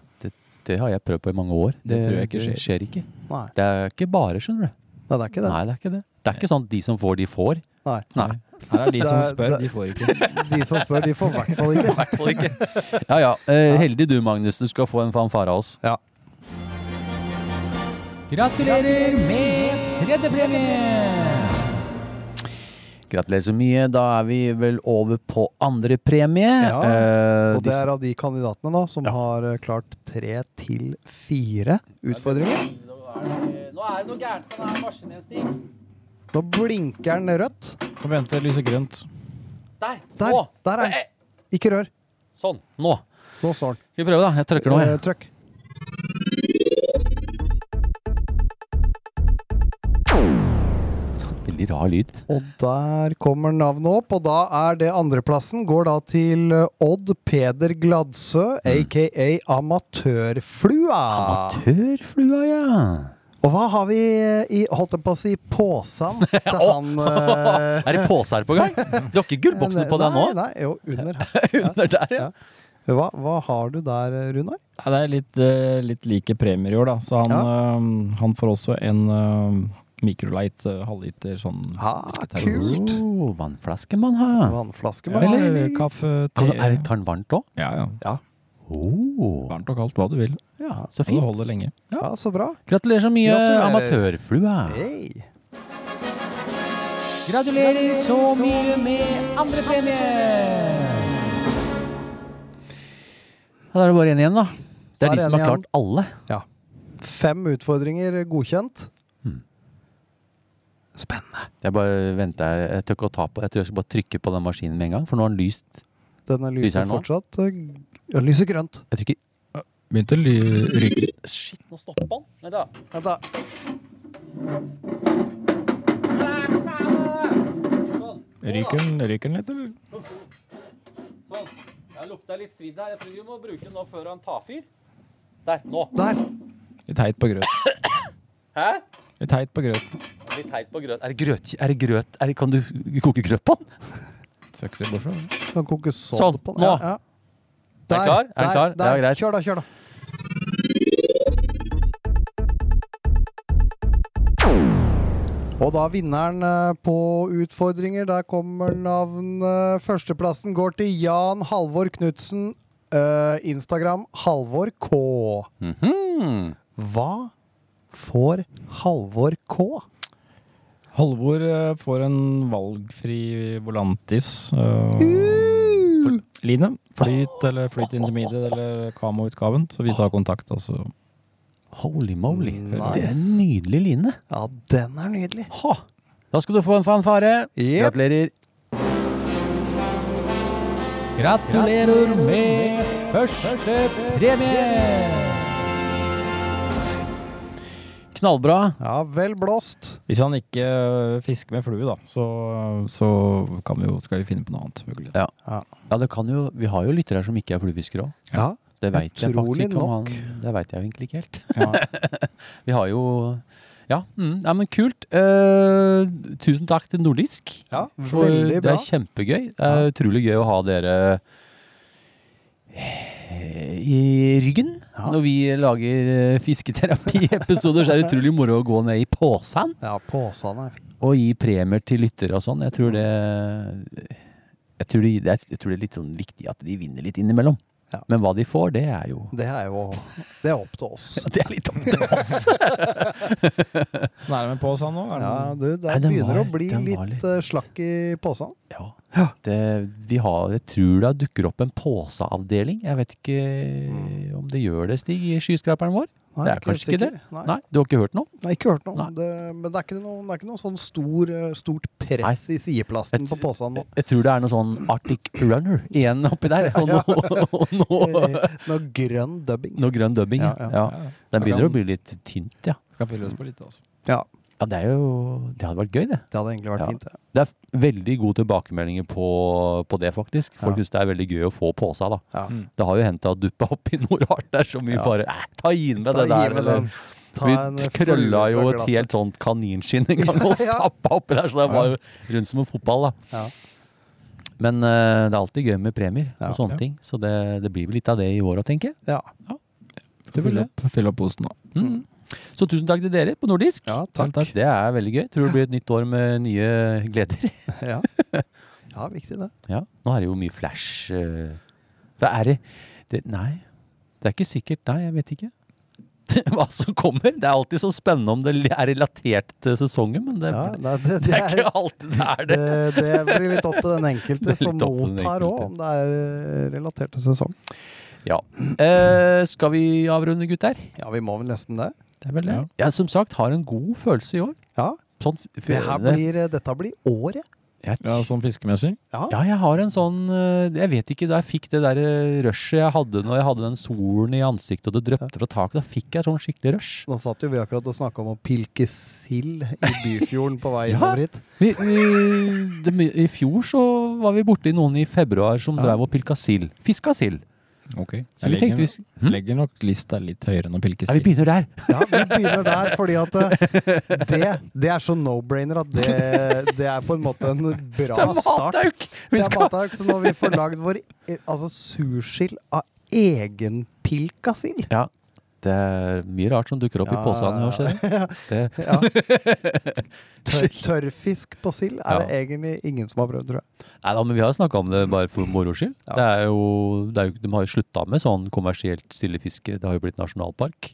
Speaker 2: Det har jeg prøvd på i mange år.
Speaker 6: Det tror jeg ikke
Speaker 2: det
Speaker 6: skjer.
Speaker 2: ikke.
Speaker 7: Nei.
Speaker 2: Det er ikke bare, skjønner du.
Speaker 7: Nei, det er ikke det.
Speaker 2: Nei, det er ikke det. Det er ikke sånn at de som får, de får.
Speaker 7: Nei.
Speaker 2: Nei.
Speaker 6: Her er de som
Speaker 7: Det er-
Speaker 6: spør,
Speaker 7: det-
Speaker 6: de får ikke.
Speaker 7: De som spør, de får i hvert fall ikke.
Speaker 2: Ja ja. Eh, heldig du, Magnus. Du skal få en fanfare av oss.
Speaker 7: Ja.
Speaker 2: Gratulerer med tredjepremie! Gratulerer så mye. Da er vi vel over på andre premie.
Speaker 7: Ja,
Speaker 2: Eh,
Speaker 7: Og
Speaker 2: de
Speaker 7: det
Speaker 2: som-
Speaker 7: er av de kandidatene da, som har eh, klart tre til fire utfordringer.
Speaker 2: Nå er det noe gærent med denne maskinen igjen, Stig.
Speaker 7: Nå blinker den rødt.
Speaker 6: Nå venter lyset grønt.
Speaker 2: Der!
Speaker 7: Der,
Speaker 2: Nå!
Speaker 7: der er den. Ikke rør.
Speaker 2: Sånn. Nå.
Speaker 7: Nå står den.
Speaker 2: Skal vi prøve, da? Jeg trykker nå.
Speaker 7: Eh,
Speaker 2: Jeg.
Speaker 7: Trykk. Eh,
Speaker 2: Veldig rar lyd.
Speaker 7: Og der kommer navnet opp, og da er det andreplassen. Går da til eh, Odd Peder Gladsø,
Speaker 2: Mm.
Speaker 7: aka Amatørflua.
Speaker 2: Amatørflua, ja.
Speaker 7: Og hva har vi eh, i, holdt jeg på å si, posen til han eh,
Speaker 2: Er det pose her på gang? Du har ikke gullboksen på deg nå?
Speaker 7: Nei, nei, jo, under her.
Speaker 2: Under der, ja.
Speaker 7: Ja. Hva, hva har du der, eh, Runar?
Speaker 6: Ja, det er litt, eh, litt like premier i år, da. Så han, eh, han får også en eh, microlight eh, halvliter sånn
Speaker 7: Ah,
Speaker 6: terror.
Speaker 7: kult!
Speaker 2: Oh, vannflaske man har.
Speaker 7: Vannflaske,
Speaker 6: Ja,
Speaker 7: man.
Speaker 6: eller kaffe, te.
Speaker 2: Kan, er det tar den varmt òg?
Speaker 6: Ja, ja.
Speaker 2: Oh.
Speaker 6: Varmt og kaldt, hva du vil.
Speaker 2: Ja, så
Speaker 6: Og det
Speaker 2: fint.
Speaker 6: holder lenge.
Speaker 7: Ja, så bra.
Speaker 2: Gratulerer så mye,
Speaker 7: Gratulerer.
Speaker 2: amatørflua.
Speaker 7: Hey.
Speaker 2: Eh. Gratulerer så mye med andre premie! Da er det bare én igjen, da. Det er
Speaker 7: Da er
Speaker 2: de
Speaker 7: det
Speaker 2: som
Speaker 7: en
Speaker 2: har klart alle.
Speaker 7: Fem utfordringer eh, godkjent.
Speaker 2: Hmm.
Speaker 7: Spennende.
Speaker 2: Jeg bare venter, jeg tør ikke å ta på Jeg tror jeg skal bare trykke på den maskinen med en gang, for nå har den lyst.
Speaker 7: Denne
Speaker 2: Lyser
Speaker 7: lyser
Speaker 2: den nå?
Speaker 7: fortsatt eh, g- ja, lyser grønt.
Speaker 2: Jeg trykker
Speaker 6: Begynte å ly- ryke.
Speaker 2: Shit, nå stopper den. Nei da.
Speaker 7: Vent, da.
Speaker 6: Ryker den ryker den litt, eller?
Speaker 2: Sånn. Jeg lukta litt svidd her. Jeg tror vi må bruke den nå før han tar fyr. Der. Nå.
Speaker 7: Der!
Speaker 6: Litt heit på grøt.
Speaker 2: Hæ?
Speaker 6: Litt heit på grøt.
Speaker 2: Litt teit på grøt. Er det grøt? Er det grøt? Er det, kan du koke grøt på den?
Speaker 6: Skal ikke se bort fra det.
Speaker 7: Kan koke sodd
Speaker 2: Sånn,
Speaker 7: på
Speaker 2: nå.
Speaker 7: Ja, ja.
Speaker 2: Er den klar? Er den
Speaker 7: der,
Speaker 2: klar?
Speaker 7: Der.
Speaker 2: Ja, greit.
Speaker 7: Kjør, da. kjør da Og da vinneren eh, på utfordringer. Der kommer navnet. Førsteplassen går til Jan Halvor Knutsen. eh, Instagram Halvor K.
Speaker 2: Mhm.
Speaker 7: Hva får Halvor K?
Speaker 6: Halvor eh, får en valgfri volantis. øh,
Speaker 7: Uh!
Speaker 6: fl- Line. Flyt eller flyt intermediate eller Kamo-utgaven. Så vi tar kontakt, altså.
Speaker 2: Holy moly.
Speaker 7: Nice.
Speaker 2: Det er en nydelig line.
Speaker 7: Ja, den er nydelig.
Speaker 2: Ha. Da skal du få en fanfare.
Speaker 7: Yep.
Speaker 2: Gratulerer. Gratulerer med første premie! Knallbra.
Speaker 7: Ja, vel blåst.
Speaker 6: Hvis han ikke øh, fisker med flue, da, så, så kan vi jo, skal vi finne på noe annet. selvfølgelig.
Speaker 2: Ja. Ja, det kan jo, Vi har jo lyttere her som ikke er fluefiskere òg.
Speaker 7: Ja.
Speaker 2: Det vet jeg faktisk
Speaker 7: Utrolig
Speaker 2: ikke om han,
Speaker 7: nok.
Speaker 2: det vet jeg jo egentlig ikke helt.
Speaker 7: Nei.
Speaker 2: Vi har jo Ja, mm, ja men kult. Eh, tusen takk til Nordisk.
Speaker 7: Ja,
Speaker 2: For
Speaker 7: veldig
Speaker 2: Det
Speaker 7: bra.
Speaker 2: er kjempegøy. Det er utrolig gøy å ha dere eh, i ryggen.
Speaker 7: Ja.
Speaker 2: Når vi lager eh, fisketerapi-episoder, så er det utrolig moro å gå ned i posen
Speaker 7: Ja, påsene er fine.
Speaker 2: og gi premier til lyttere og sånn. Jeg tror det jeg tror, de, det er- jeg tror det er litt sånn viktig at de vinner litt innimellom.
Speaker 7: Ja.
Speaker 2: Men hva de får, det er jo
Speaker 7: Det er jo Det er opp til oss.
Speaker 2: Det er litt opp til oss.
Speaker 6: Sånn er det med påsen nå. Er det
Speaker 7: Ja, du, det
Speaker 2: Nei, den
Speaker 7: begynner
Speaker 2: var-
Speaker 7: å bli
Speaker 2: den
Speaker 7: litt,
Speaker 2: var litt-
Speaker 7: eh, slakk i posen.
Speaker 2: Ja. Det, vi har, jeg tror det dukker opp en påseavdeling. Jeg vet ikke
Speaker 7: Mm.
Speaker 2: om det gjør det, Stig, i skyskraperen vår.
Speaker 7: Nei,
Speaker 2: Det er
Speaker 7: jeg helt
Speaker 2: kanskje ikke
Speaker 7: sikker.
Speaker 2: det?
Speaker 7: Nei.
Speaker 2: Nei, du har ikke hørt noe?
Speaker 7: Jeg har ikke hørt noe
Speaker 2: Nei.
Speaker 7: om det. Men det er ikke noe, det er ikke noe sånn stor, eh, stort press i sideplasten på posen nå.
Speaker 2: Jeg tror det er noe sånn Arctic Runner igjen oppi der. Og noe, og noe,
Speaker 7: Eh, Noe grønn dubbing.
Speaker 2: noe grønn dubbing. Ja,
Speaker 7: Ja, ja.
Speaker 2: ja.
Speaker 6: Ja,
Speaker 2: Den begynner å bli litt tynt, ja.
Speaker 6: Kan fylle oss på litt, altså.
Speaker 7: Ja,
Speaker 2: Ja, det er jo Det hadde vært gøy, det.
Speaker 7: det hadde egentlig vært
Speaker 2: Ja.
Speaker 7: fint. det.
Speaker 2: Det er veldig gode tilbakemeldinger på, på det, faktisk. Folk
Speaker 7: Ja.
Speaker 2: synes det er veldig gøy å få på seg, da.
Speaker 7: Ja.
Speaker 6: Mm.
Speaker 2: Det har jo hendt at duppa oppi noe rart der som vi
Speaker 7: Ja.
Speaker 2: bare eh, Ta gi med
Speaker 7: Ta
Speaker 2: det der,
Speaker 7: gi med
Speaker 2: eller
Speaker 7: den. Ta en
Speaker 2: Vi
Speaker 7: flue
Speaker 2: krølla
Speaker 7: fra
Speaker 2: jo et
Speaker 7: glasset.
Speaker 2: helt sånt kaninskinn en gang og
Speaker 7: Ja, ja.
Speaker 2: stappa oppi der, så det var jo rundt som en fotball, da.
Speaker 7: Ja.
Speaker 2: Men eh, det er alltid gøy med premier
Speaker 7: Ja.
Speaker 2: og sånne
Speaker 6: Ja.
Speaker 2: ting, så det, det blir vel litt av det i åra, tenker jeg.
Speaker 7: Ja.
Speaker 2: Det vil
Speaker 6: Fyll
Speaker 2: det.
Speaker 6: opp, fyll opp posen, da.
Speaker 2: Mm. Så tusen takk til dere på nordisk.
Speaker 7: Ja, takk.
Speaker 2: Det er veldig gøy. Tror det blir et nytt år med nye gleder.
Speaker 7: Ja. ja, viktig det.
Speaker 2: Ja. Nå er det jo mye flash eh, Hva er det? det Nei, det er ikke sikkert. Nei, jeg vet ikke. Hva som kommer. Det er alltid så spennende om det er relatert til sesongen, men det,
Speaker 7: Ja, det, det,
Speaker 2: Det
Speaker 7: det,
Speaker 2: er
Speaker 7: er,
Speaker 2: ikke alltid det er
Speaker 7: det,
Speaker 2: det.
Speaker 7: det blir litt opp til den
Speaker 2: Det er
Speaker 7: enkelte
Speaker 2: litt
Speaker 7: som
Speaker 2: opp til den
Speaker 7: mottar òg,
Speaker 2: enkelte.
Speaker 7: om det er eh, relatert til sesong.
Speaker 2: Eh, skal vi avrunde, gutter?
Speaker 7: Ja, vi må vel nesten det.
Speaker 2: Det er vel
Speaker 6: det.
Speaker 2: Jeg som sagt har en god følelse i år.
Speaker 7: Ja.
Speaker 2: Sånn, f- f-
Speaker 7: Det her
Speaker 2: det-
Speaker 7: blir, eh, dette blir året.
Speaker 2: jeg,
Speaker 6: Ja, sånn fiskemessig.
Speaker 2: ja, jeg har en sånn eh, Jeg vet ikke, da jeg fikk det der eh, rushet jeg hadde når jeg hadde den solen i ansiktet og det drøpte fra taket, da fikk jeg sånn skikkelig rush.
Speaker 7: Nå satt jo vi akkurat og snakka om å pilke sild i Byfjorden på vei
Speaker 2: Ja.
Speaker 7: innover hit.
Speaker 2: Vi, vi, det, I fjor så var vi borti noen i februar som
Speaker 7: Ja.
Speaker 2: drev og pilka sild. Fiska sild.
Speaker 6: Ok.
Speaker 2: Så vi tenkte vi sk- Hm?
Speaker 6: legger nok lista litt høyere enn å pilke
Speaker 2: Nei, vi begynner der.
Speaker 7: Ja, vi begynner der, fordi at eh, det, det er så no-brainer at det, det er på en måte en
Speaker 2: Det
Speaker 7: bra
Speaker 2: er
Speaker 7: start.
Speaker 2: matauk!
Speaker 7: Det
Speaker 2: Vi
Speaker 7: er
Speaker 2: skal
Speaker 7: matauk, så når vi får lagd vår eh, altså, sursild av egenpilka sild
Speaker 2: Ja. Det er mye rart som dukker opp i
Speaker 7: Ja,
Speaker 2: påsene i år, ser jeg. Det,
Speaker 7: ja. Tør, Tørrfisk på sild er det egentlig ingen som har prøvd, tror jeg.
Speaker 2: nei da, men vi har snakka om det bare for moro skyld.
Speaker 7: Ja.
Speaker 2: Det er jo, det er jo, de har jo slutta med sånn kommersielt sildefiske. Det har jo blitt nasjonalpark.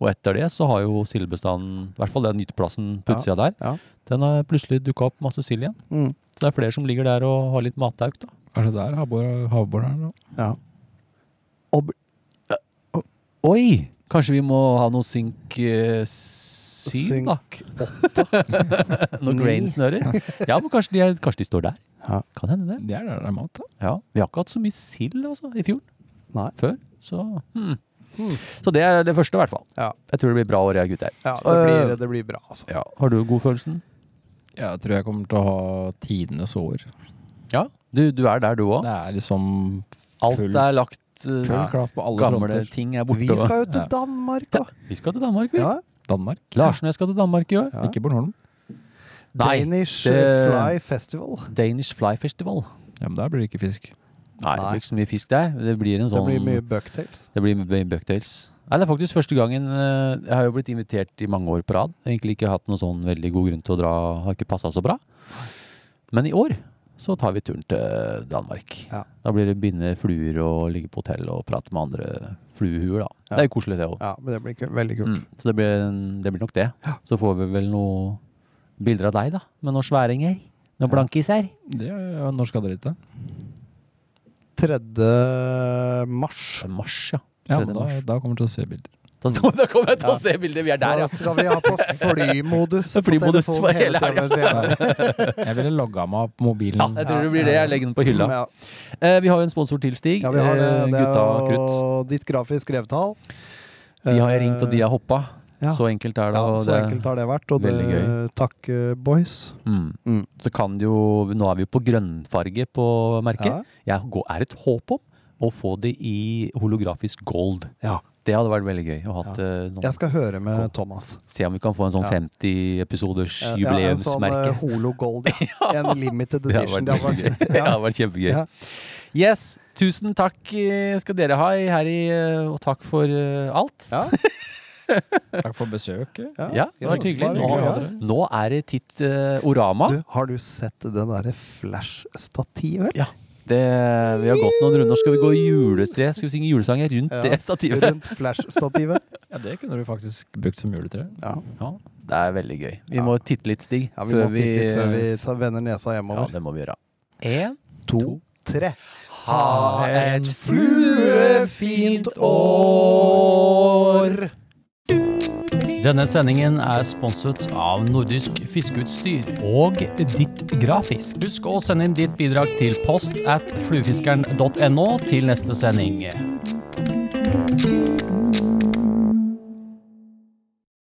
Speaker 2: Og etter det så har jo sildebestanden, i hvert fall den nyttplassen på
Speaker 7: Ja,
Speaker 2: utsida der,
Speaker 7: ja.
Speaker 2: den har plutselig dukka opp masse sild igjen.
Speaker 7: Mm.
Speaker 2: Så det er flere som ligger der og har litt matauk, da.
Speaker 6: Kanskje det er havbord havbord her nå?
Speaker 7: Ja.
Speaker 2: Oi! Kanskje vi må ha noe synk eh, syv,
Speaker 7: Synk
Speaker 2: da? Noen
Speaker 7: Ni.
Speaker 2: grainsnører? Ja, men kanskje de, er, kanskje de står der?
Speaker 7: Ja.
Speaker 2: Kan hende det.
Speaker 6: Det er der det er mat, da.
Speaker 2: Ja, Vi har ikke hatt så mye sild altså, i fjorden
Speaker 7: Nei.
Speaker 2: før. Så, hmm.
Speaker 7: Hmm.
Speaker 2: så det er det første, i hvert fall.
Speaker 7: Ja.
Speaker 2: Jeg tror det blir bra år, jeg, gutter.
Speaker 7: Ja, det blir, det blir bra, altså.
Speaker 2: Har du godfølelsen?
Speaker 6: Jeg tror jeg kommer til å ha tidenes år.
Speaker 2: Ja. Du, du er der, du òg.
Speaker 6: Det er liksom
Speaker 2: Alt
Speaker 6: full-
Speaker 2: er lagt. eh,
Speaker 6: full klaff på alle
Speaker 2: Gamle
Speaker 6: fronter.
Speaker 2: ting er borte.
Speaker 7: Vi skal jo til
Speaker 6: Ja.
Speaker 7: Danmark, da.
Speaker 2: Vi skal til Danmark, vi.
Speaker 7: Ja.
Speaker 6: Danmark.
Speaker 2: Larsen og jeg skal til Danmark i år.
Speaker 7: Ja.
Speaker 6: Ikke Bornholm.
Speaker 2: Nei,
Speaker 7: Danish
Speaker 2: det-
Speaker 7: eh, Fly Festival.
Speaker 2: Danish Fly Festival.
Speaker 6: Ja, men der blir det ikke fisk.
Speaker 2: Nei, det
Speaker 7: Nei.
Speaker 2: blir ikke så mye fisk der. Det blir en
Speaker 7: Det
Speaker 2: sånn
Speaker 7: blir mye bucktails.
Speaker 2: Det blir mye Bucktails. Nei, det er faktisk første gangen eh, Jeg har jo blitt invitert i mange år på rad. Egentlig ikke hatt noen sånn veldig god grunn til å dra. Har ikke passa så bra. Men i år så tar vi turen til Danmark.
Speaker 7: Ja.
Speaker 2: Da blir det binde fluer og ligge på hotell og prate med andre fluehuer, da.
Speaker 7: Ja.
Speaker 2: Det er jo koselig, det òg.
Speaker 7: Ja, men det blir ku- veldig kult.
Speaker 2: Mm. Så det blir, en- det blir nok det. Så får vi vel noen bilder av deg, da. Med noen sværinger. Noen blankiser.
Speaker 6: Det er, ja, når skal dere dit? da?
Speaker 7: 3. mars.
Speaker 2: Mars, ja.
Speaker 6: Ja,
Speaker 2: 3.
Speaker 6: men da,
Speaker 2: mars.
Speaker 6: da kommer dere til å se bilder.
Speaker 2: Da, da kommer jeg til å se bildet. Vi er der,
Speaker 7: Da
Speaker 2: ja.
Speaker 7: skal vi ha på flymodus. på
Speaker 2: Flymodus
Speaker 7: telefonen
Speaker 2: for hele
Speaker 7: tiden.
Speaker 6: Jeg ville logga meg opp mobilen.
Speaker 2: ja. Jeg tror det blir det. Jeg legger den på hylla.
Speaker 7: Ja.
Speaker 2: Eh, vi har jo en sponsor til, Stig.
Speaker 7: Ja, vi har det.
Speaker 2: Eh,
Speaker 7: det
Speaker 2: Gutta
Speaker 7: er jo
Speaker 2: Krutt.
Speaker 7: ditt grafisk revtall.
Speaker 2: De har jeg ringt, og de har hoppa.
Speaker 7: Ja.
Speaker 2: Så enkelt er det.
Speaker 7: ja,
Speaker 2: og
Speaker 7: Så
Speaker 2: det
Speaker 7: enkelt har det vært. Og det,
Speaker 2: Veldig gøy.
Speaker 7: takk, eh, boys.
Speaker 2: Mm.
Speaker 7: Mm.
Speaker 2: Så kan det jo Nå er vi jo på grønnfarge på merket.
Speaker 7: Ja.
Speaker 2: Jeg går, er et håp om å få det i holografisk gold.
Speaker 7: Ja.
Speaker 2: Det hadde vært veldig gøy. Å hatt, eh,
Speaker 7: Jeg
Speaker 2: noen,
Speaker 7: skal høre med Thomas.
Speaker 2: se om vi kan få en sånn
Speaker 7: Ja.
Speaker 2: 50 episoders
Speaker 7: Eh, ja, en sånn
Speaker 2: jubileumsmerke.
Speaker 7: eh, Holo Gold. En limited
Speaker 2: Det har
Speaker 7: edition.
Speaker 2: vært veldig gøy. Det har vært kjempegøy.
Speaker 7: Ja.
Speaker 2: Yes, tusen takk eh, skal dere ha i- her i eh, Og takk for eh, alt.
Speaker 7: Ja.
Speaker 6: Takk for besøket.
Speaker 7: Ja,
Speaker 2: Ja, det var hyggelig.
Speaker 7: bare
Speaker 2: Nå,
Speaker 7: hyggelig, ja.
Speaker 2: nå er det titt eh, orama.
Speaker 7: Du, har du sett det derre flash-stativet?
Speaker 2: Det, vi har gått noen runder. Nå skal vi gå i juletre. Skal vi synge julesanger rundt
Speaker 7: Ja.
Speaker 2: det stativet?
Speaker 7: Rundt flash-stativet.
Speaker 6: Ja, det kunne du faktisk brukt som juletre.
Speaker 7: Ja.
Speaker 2: Ja, det er veldig gøy. Vi
Speaker 7: Ja.
Speaker 2: må titte litt, Stig.
Speaker 7: ja, vi må titte litt før vi tar, vender nesa
Speaker 2: Ja,
Speaker 7: hjemover.
Speaker 2: det må vi gjøre. En
Speaker 7: to, tre.
Speaker 2: Ha et fluefint år. Denne sendingen er sponset av Nordisk Fiskeutstyr og Ditt Grafisk. Husk å sende inn ditt bidrag til post at fluefiskeren.no til neste sending.